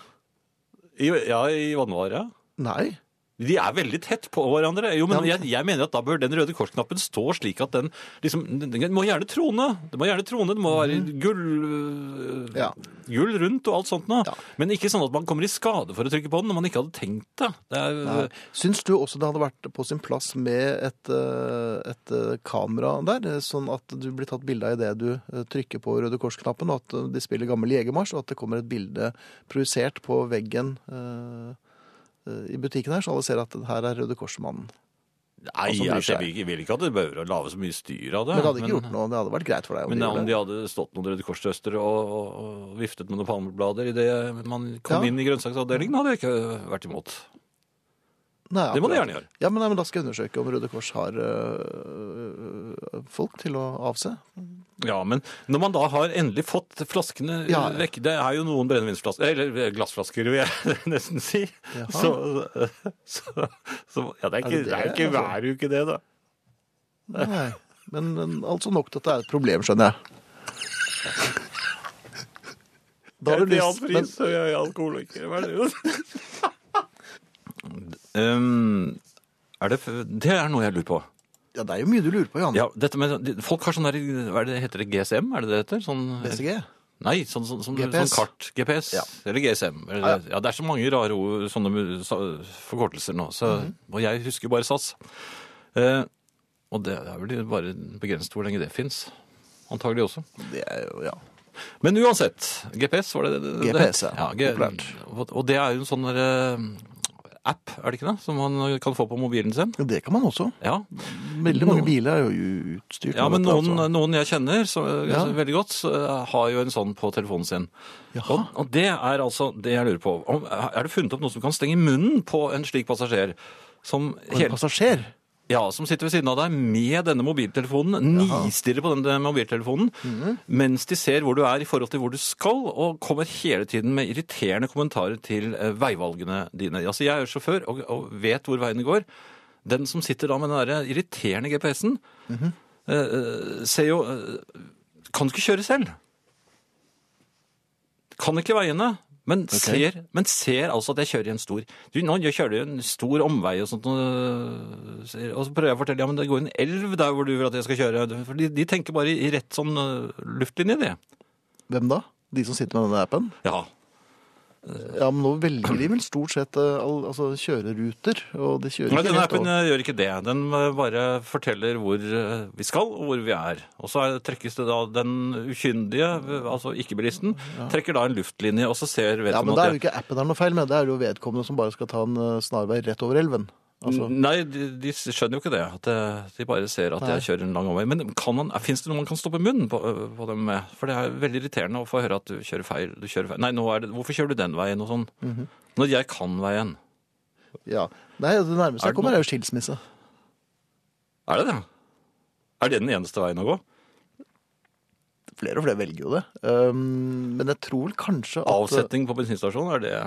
S2: I- Ja, i vannvare.
S1: Nei.
S2: De er veldig tett på hverandre. Jo, men jeg, jeg mener at da bør den røde korsknappen stå slik at den liksom Den den må gjerne trone. Det må gjerne trone. Det må være gull, øh,
S1: Mm. Ja.
S2: gull rundt og alt sånt noe.
S1: Ja.
S2: Men ikke sånn at man kommer i skade for å trykke på den når man ikke hadde tenkt det. det er, øh,
S1: Nei. Syns du også det hadde vært på sin plass med et, eh, et eh, kamera der, eh, sånn at du blir tatt bilde av idet du eh, trykker på Røde Kors-knappen, og at eh, de spiller gammel jegermarsj, og at det kommer et bilde projisert på veggen eh, eh, i butikken her, så alle ser at her er Røde Kors-mannen.
S2: Nei,
S1: Altså, bryr
S2: jeg,
S1: seg.
S2: jeg vil ikke- vil ikke at det behøver å lage så mye styr av det.
S1: Men det hadde ikke gjort noe, det hadde vært greit for deg. å
S2: Men
S1: gjøre det.
S2: om de hadde stått noen Røde Kors-søster og, og- og viftet med noen palmeblader idet man kom
S1: Ja.
S2: inn i grønnsaksavdelingen, hadde jeg ikke øh, vært imot.
S1: Nei,
S2: Det må de
S1: akkurat.
S2: gjerne gjøre.
S1: Ja, men, nei, men da skal jeg undersøke om Røde Kors har eh, folk til å avse.
S2: Ja, men når man da har endelig fått flaskene øh,
S1: Ja.
S2: vekk Det er jo noen brennevinsflasker Eller øh, glassflasker, vil jeg nesten si.
S1: Jaha.
S2: Så, øh, så, så Ja, det er, ikke,
S1: det
S2: det, er jo
S1: det,
S2: ikke
S1: altså?
S2: hver uke, det, da.
S1: Nei, men, men altså nok til at det er et problem, skjønner jeg. Da har du
S2: Jeg er
S1: lyst, men,
S2: og jeg er alkoholiker. Hva er det? Um, er det, f- det er noe jeg lurer på.
S1: ja, det er jo mye du lurer på, Jan.
S2: Ja, dette med, de- folk har sånn der hva er det, Heter det GSM? Er det det heter? Sånn,
S1: BCG?
S2: nei, sånn, sånn, sånn,
S1: GPS.
S2: sånn kart. GPS.
S1: Ja. Ah,
S2: Eller GSM. Eller,
S1: Ja,
S2: ja, det er så mange rare ord, sånne mu- sa- forkortelser nå. Så,
S1: Mhm.
S2: Og jeg husker bare SAS. Eh, og det er vel bare begrenset hvor lenge det fins. Antagelig også.
S1: Det er jo, ja.
S2: Men uansett, GPS var det det, det
S1: GPS,
S2: het?
S1: ja.
S2: G-
S1: Populært.
S2: Og, og det er jo en sånn der, eh, app, er det ikke det? Som man kan få på mobilen sin.
S1: Det kan man også.
S2: Ja,
S1: Veldig mange biler er jo utstyrt
S2: ja men
S1: dette,
S2: noen,
S1: altså.
S2: noen jeg kjenner så,
S1: Ja.
S2: så veldig godt, så, eh, har jo en sånn på telefonen sin. Og,
S1: Jaha.
S2: og det er altså det jeg lurer på. Om, er det funnet opp noe som kan stenge munnen på en slik passasjer? Som,
S1: Og en
S2: hele,
S1: passasjer?
S2: ja, som sitter ved siden av deg med denne mobiltelefonen, nistirrer på denne mobiltelefonen, mens de ser hvor du er i forhold til hvor du skal, og kommer hele tiden med irriterende kommentarer til eh, veivalgene dine. Altså, jeg er jo sjåfør og, og vet hvor veiene går. Den som sitter da med den der irriterende GPS-en, eh, eh, ser jo eh, Kan du ikke kjøre selv? Kan ikke veiene, men, ser, men ser altså at jeg kjører i en stor du, Nå jeg kjører jeg en stor omvei og sånt, og, ser- og så prøver jeg å fortelle ja, men det går en elv der hvor du vil at jeg skal kjøre. For de, de tenker bare i rett sånn øh, luftlinje, de.
S1: Hvem da? De som sitter med denne appen?
S2: Ja.
S1: Ja, men nå velger de vel stort sett eh, all, altså, kjøreruter, og de kjører
S2: Men
S1: ikke
S2: den
S1: helt
S2: appen
S1: over.
S2: øh, gjør ikke det. Den øh, bare forteller hvor øh, vi skal, og hvor vi er. Og så er- trekkes det da den ukyndige, øh, altså ikke-bilisten, trekker da en luftlinje, og så ser
S1: Ja, men da
S2: vedkommende
S1: er det jo ikke appen det er noe feil med, det er jo vedkommende som bare skal ta en eh, snarvei rett over elven. Altså,
S2: Nei, de, de skjønner jo ikke det. At eh, de bare ser at jeg kjører en lang omvei. Men kan man, finnes det noe man kan stoppe munnen på, øh, på dem med? For det er veldig irriterende å få høre at du kjører feil. Du kjører feil. Nei, nå er det, hvorfor kjører du den veien og sånn?
S1: Mhm.
S2: Når jeg kan veien.
S1: ja. Nei, det nærmeste
S2: Er det
S1: jeg kommer er jo skilsmisse.
S2: Er det det? Er det den eneste veien å gå?
S1: flere og flere velger jo det. Um, men jeg tror vel kanskje at eh,
S2: Avsetning på bensinstasjonen, er det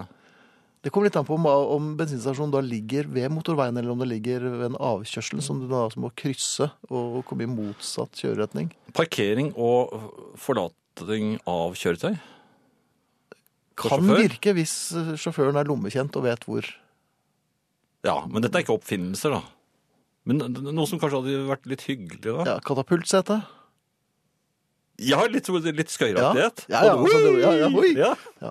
S1: Det kommer litt an på om, om bensinstasjonen da ligger ved motorveien, eller om det ligger ved en avkjørsel som du da altså må krysse og komme i motsatt kjøreretning.
S2: parkering og forlating av kjøretøy? For
S1: Kan
S2: sjåfør?
S1: virke hvis eh, sjåføren er lommekjent og vet hvor.
S2: Ja, men dette er ikke oppfinnelser, da. Men noe som kanskje hadde vært litt hyggelig, da?
S1: Ja, Katapultsete.
S2: Jeg har litt, litt skøyeraktighet.
S1: Ja. Ja, ja,
S2: Og-
S1: altså, det- ja, ja, oi.
S2: Ja.
S1: Ja.
S2: Ja,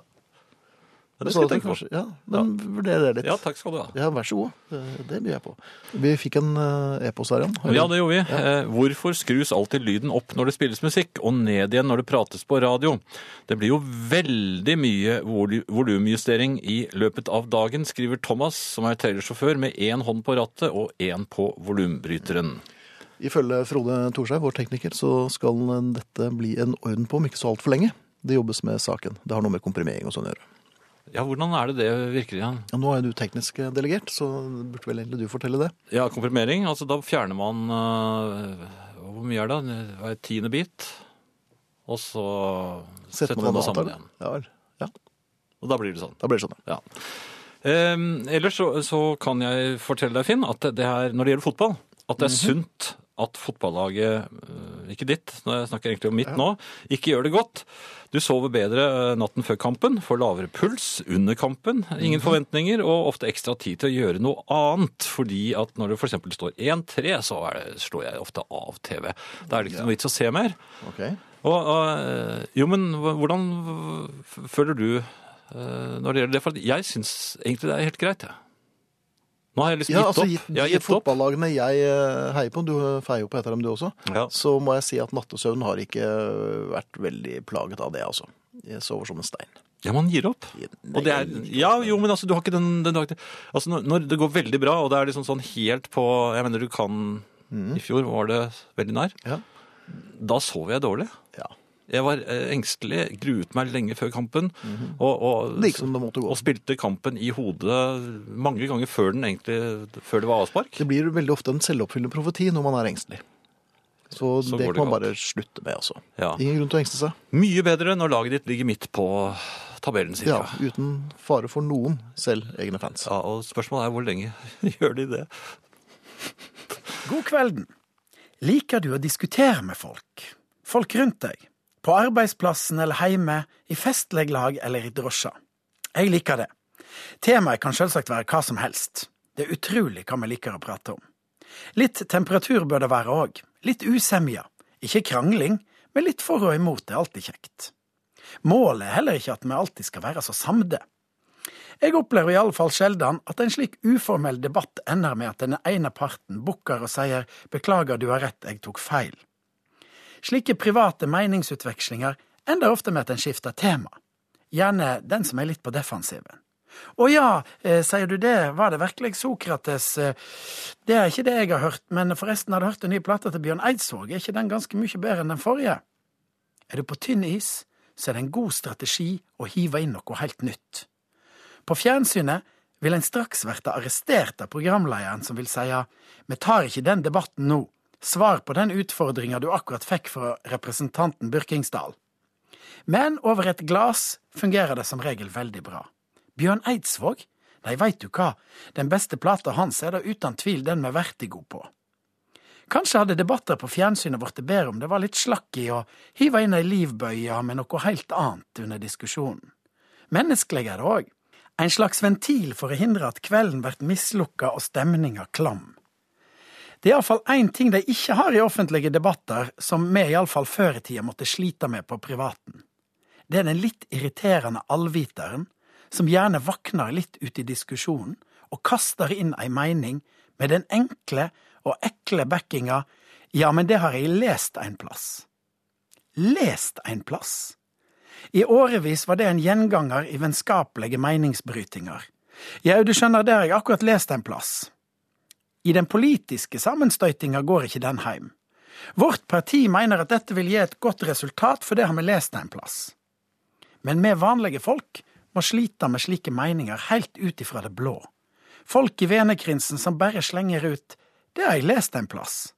S2: Det
S1: Så
S2: skal
S1: at
S2: jeg
S1: det
S2: tenke på.
S1: kanskje- Ja, men vurder det litt.
S2: Ja, takk skal du ha.
S1: Ja, vær så god. Det- Det byr jeg på. Vi fikk en eh, e-post her, Jan. Har
S2: Ja,
S1: du-
S2: det gjorde vi. Eh, Hvorfor skrus alltid lyden opp når det spilles musikk, og ned igjen når det prates på radio? Det blir jo veldig mye volu- volumjustering i løpet av dagen, skriver Thomas, som er trailersjåfør, med én hånd på rattet og én på volumbryteren.
S1: Ifølge Frode Thorsheim, vår tekniker, så skal dette bli en orden på om ikke så altfor lenge. Det jobbes med saken. Det har noe med komprimering og sånn å gjøre.
S2: Ja, hvordan er det det virker igjen?
S1: Ja, nå er du teknisk eh, delegert, så burde vel egentlig du fortelle det.
S2: Ja, komprimering. Altså, da fjerner man eh, Hvor mye er det? Hver tiende bit. Og så setter man det
S1: noe
S2: sammen
S1: annet,
S2: igjen.
S1: eller? Ja, vel. ja,
S2: Og da blir det sånn.
S1: da blir det sånn. ja.
S2: Ja. Eh, ellers så, så kan jeg fortelle deg, Finn, at det her, når det gjelder fotball, at det er sunt at fotballaget eh, ikke ditt, når jeg snakker egentlig om mitt nå. Ikke gjør det godt. Du sover bedre eh, natten før kampen, får lavere puls under kampen, ingen forventninger og ofte ekstra tid til å gjøre noe annet. Fordi at når det f.eks. står 1-3, så er det, slår jeg ofte av TV. Da er det ikke noe vits å se mer.
S1: Ok.
S2: Og, og, jo, men hva- hvordan f- føler du eh, når det gjelder det? For at jeg syns egentlig det er helt greit, jeg. Nå har jeg liksom
S1: Ja,
S2: gitt
S1: altså,
S2: opp.
S1: gitt,
S2: jeg har
S1: gitt
S2: gitt opp.
S1: fotballagene jeg eh, heier på, du feier jo på et av dem du også,
S2: Ja.
S1: så må jeg si at nattesøvn har ikke eh, vært veldig plaget av det, altså. Jeg sover som en stein.
S2: Ja, man gir opp. Og det er, ja, jo, men altså, du har ikke den, den dag Altså, når, når det går veldig bra, og det er liksom sånn helt på Jeg mener, du kan I fjor var det veldig nær.
S1: Mm. Ja.
S2: Da sov jeg dårlig.
S1: Ja.
S2: Jeg var eh, engstelig, gruet meg lenge før kampen. og, og,
S1: Mm-hmm. Det gikk som det måtte gå.
S2: og spilte kampen i hodet mange ganger før, den egentlig, før det var avspark.
S1: Det blir veldig ofte en selvoppfyllende profeti når man er engstelig. Så,
S2: Så
S1: det
S2: går det
S1: kan man
S2: galt.
S1: bare slutte med, altså.
S2: Ja.
S1: Ingen grunn til å engste seg.
S2: Mye bedre når laget ditt ligger midt på tabellen, sier
S1: Ja,
S2: jeg.
S1: uten fare for noen, selv egne fans.
S2: Ja, og spørsmålet er hvor lenge gjør de det?
S3: God kvelden. Liker du å diskutere med folk? Folk rundt deg? På arbeidsplassen eller hjemme, i festlig lag eller i drosja? Jeg liker det. Temaet kan selvsagt være hva som helst. Det er utrolig hva vi liker å prate om. Litt temperatur bør det være òg. Litt usemje. Ikke krangling, men litt for og imot er alltid kjekt. Målet er heller ikke at vi alltid skal være så samde. Jeg opplever iallfall sjelden at en slik uformell debatt ender med at den ene parten bukker og sier 'beklager, du har rett, jeg tok feil'. Slike private meningsutvekslinger ender ofte med at en skifter tema, gjerne den som er litt på defensiven. Å ja, eh, sier du det, var det virkelig Sokrates? Eh, Det er ikke det jeg har hørt, men forresten har du hørt den nye plata til Bjørn Eidsvåg, er ikke den ganske mye bedre enn den forrige? Er du på tynn is, så er det en god strategi å hive inn noe helt nytt. På fjernsynet vil en straks verte arrestert av programlederen som vil seia «Vi tar ikke den debatten nå. Svar på den utfordringa du akkurat fikk fra representanten Byrkingsdal». Men over et glass fungerer det som regel veldig bra. Bjørn Eidsvåg? Nei, veit du hva, den beste plata hans er da uten tvil den med Vertigo på. Kanskje hadde debatter på fjernsynet blitt bedre om det var litt slakk i og hiva inn ei livbøye med noe helt annet under diskusjonen. Menneskelig er det òg. En slags ventil for å hindre at kvelden blir mislukka og stemninga klam. Det er iallfall én ting de ikke har i offentlige debatter, som vi iallfall før i tida måtte slite med på privaten. Det er den litt irriterende allviteren, som gjerne våkner litt ut i diskusjonen og kaster inn ei mening med den enkle og ekle backinga ja, men det har jeg lest en plass. Lest en plass? I årevis var det en gjenganger i vennskapelige meningsbrytinger. Ja, du skjønner, det har jeg akkurat lest en plass. I den politiske sammenstøytinga går ikke den heim. Vårt parti mener at dette vil gi et godt resultat, for det har vi lest en plass. Men vi vanlige folk må slite med slike meninger helt ut ifra det blå. Folk i venekrinsen som bare slenger ut 'det har jeg lest en plass'.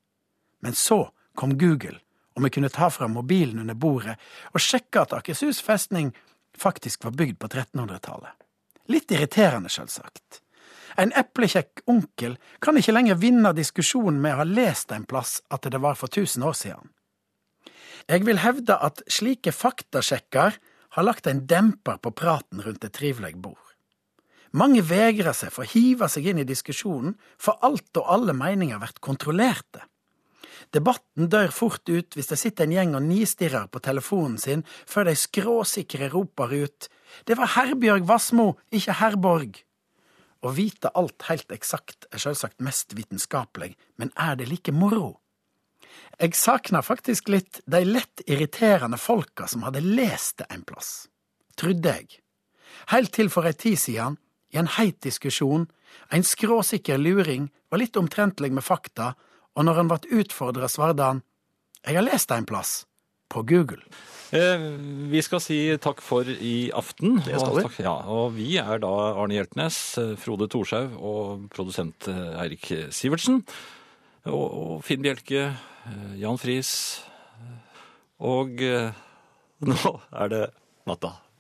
S3: Men så kom Google, og vi kunne ta fram mobilen under bordet og sjekke at Akershus festning faktisk var bygd på 1300-tallet. Litt irriterende, selvsagt. En eplekjekk onkel kan ikke lenger vinne diskusjonen med å ha lest en plass at det var for 1000 år siden. Jeg vil hevde at slike faktasjekker har lagt en demper på praten rundt et trivelig bord. Mange vegrer seg for å hive seg inn i diskusjonen, for alt og alle meninger blir kontrollerte. Debatten dør fort ut hvis det sitter en gjeng og nistirrer på telefonen sin før de skråsikre roper ut Det var Herbjørg Wassmo, ikke Herborg. Å vite alt helt eksakt er selvsagt mest vitenskapelig, men er det like moro? Jeg savner faktisk litt de lett irriterende folka som hadde lest det en plass. Trudde jeg. Helt til for ei tid siden, i en heit diskusjon, en skråsikker luring var litt omtrentlig med fakta, og når han ble utfordra, svarte han Jeg har lest det en plass. På Google.
S2: Eh, Vi skal si takk for i aften.
S1: Det skal vi.
S2: Og, takk, ja, og vi er da Arne Hjeltnes, eh, Frode Thorshaug og produsent eh, Eirik Sivertsen. Og, og Finn Bjelke, eh, Jan Friis. Og eh, nå er eh, det natta.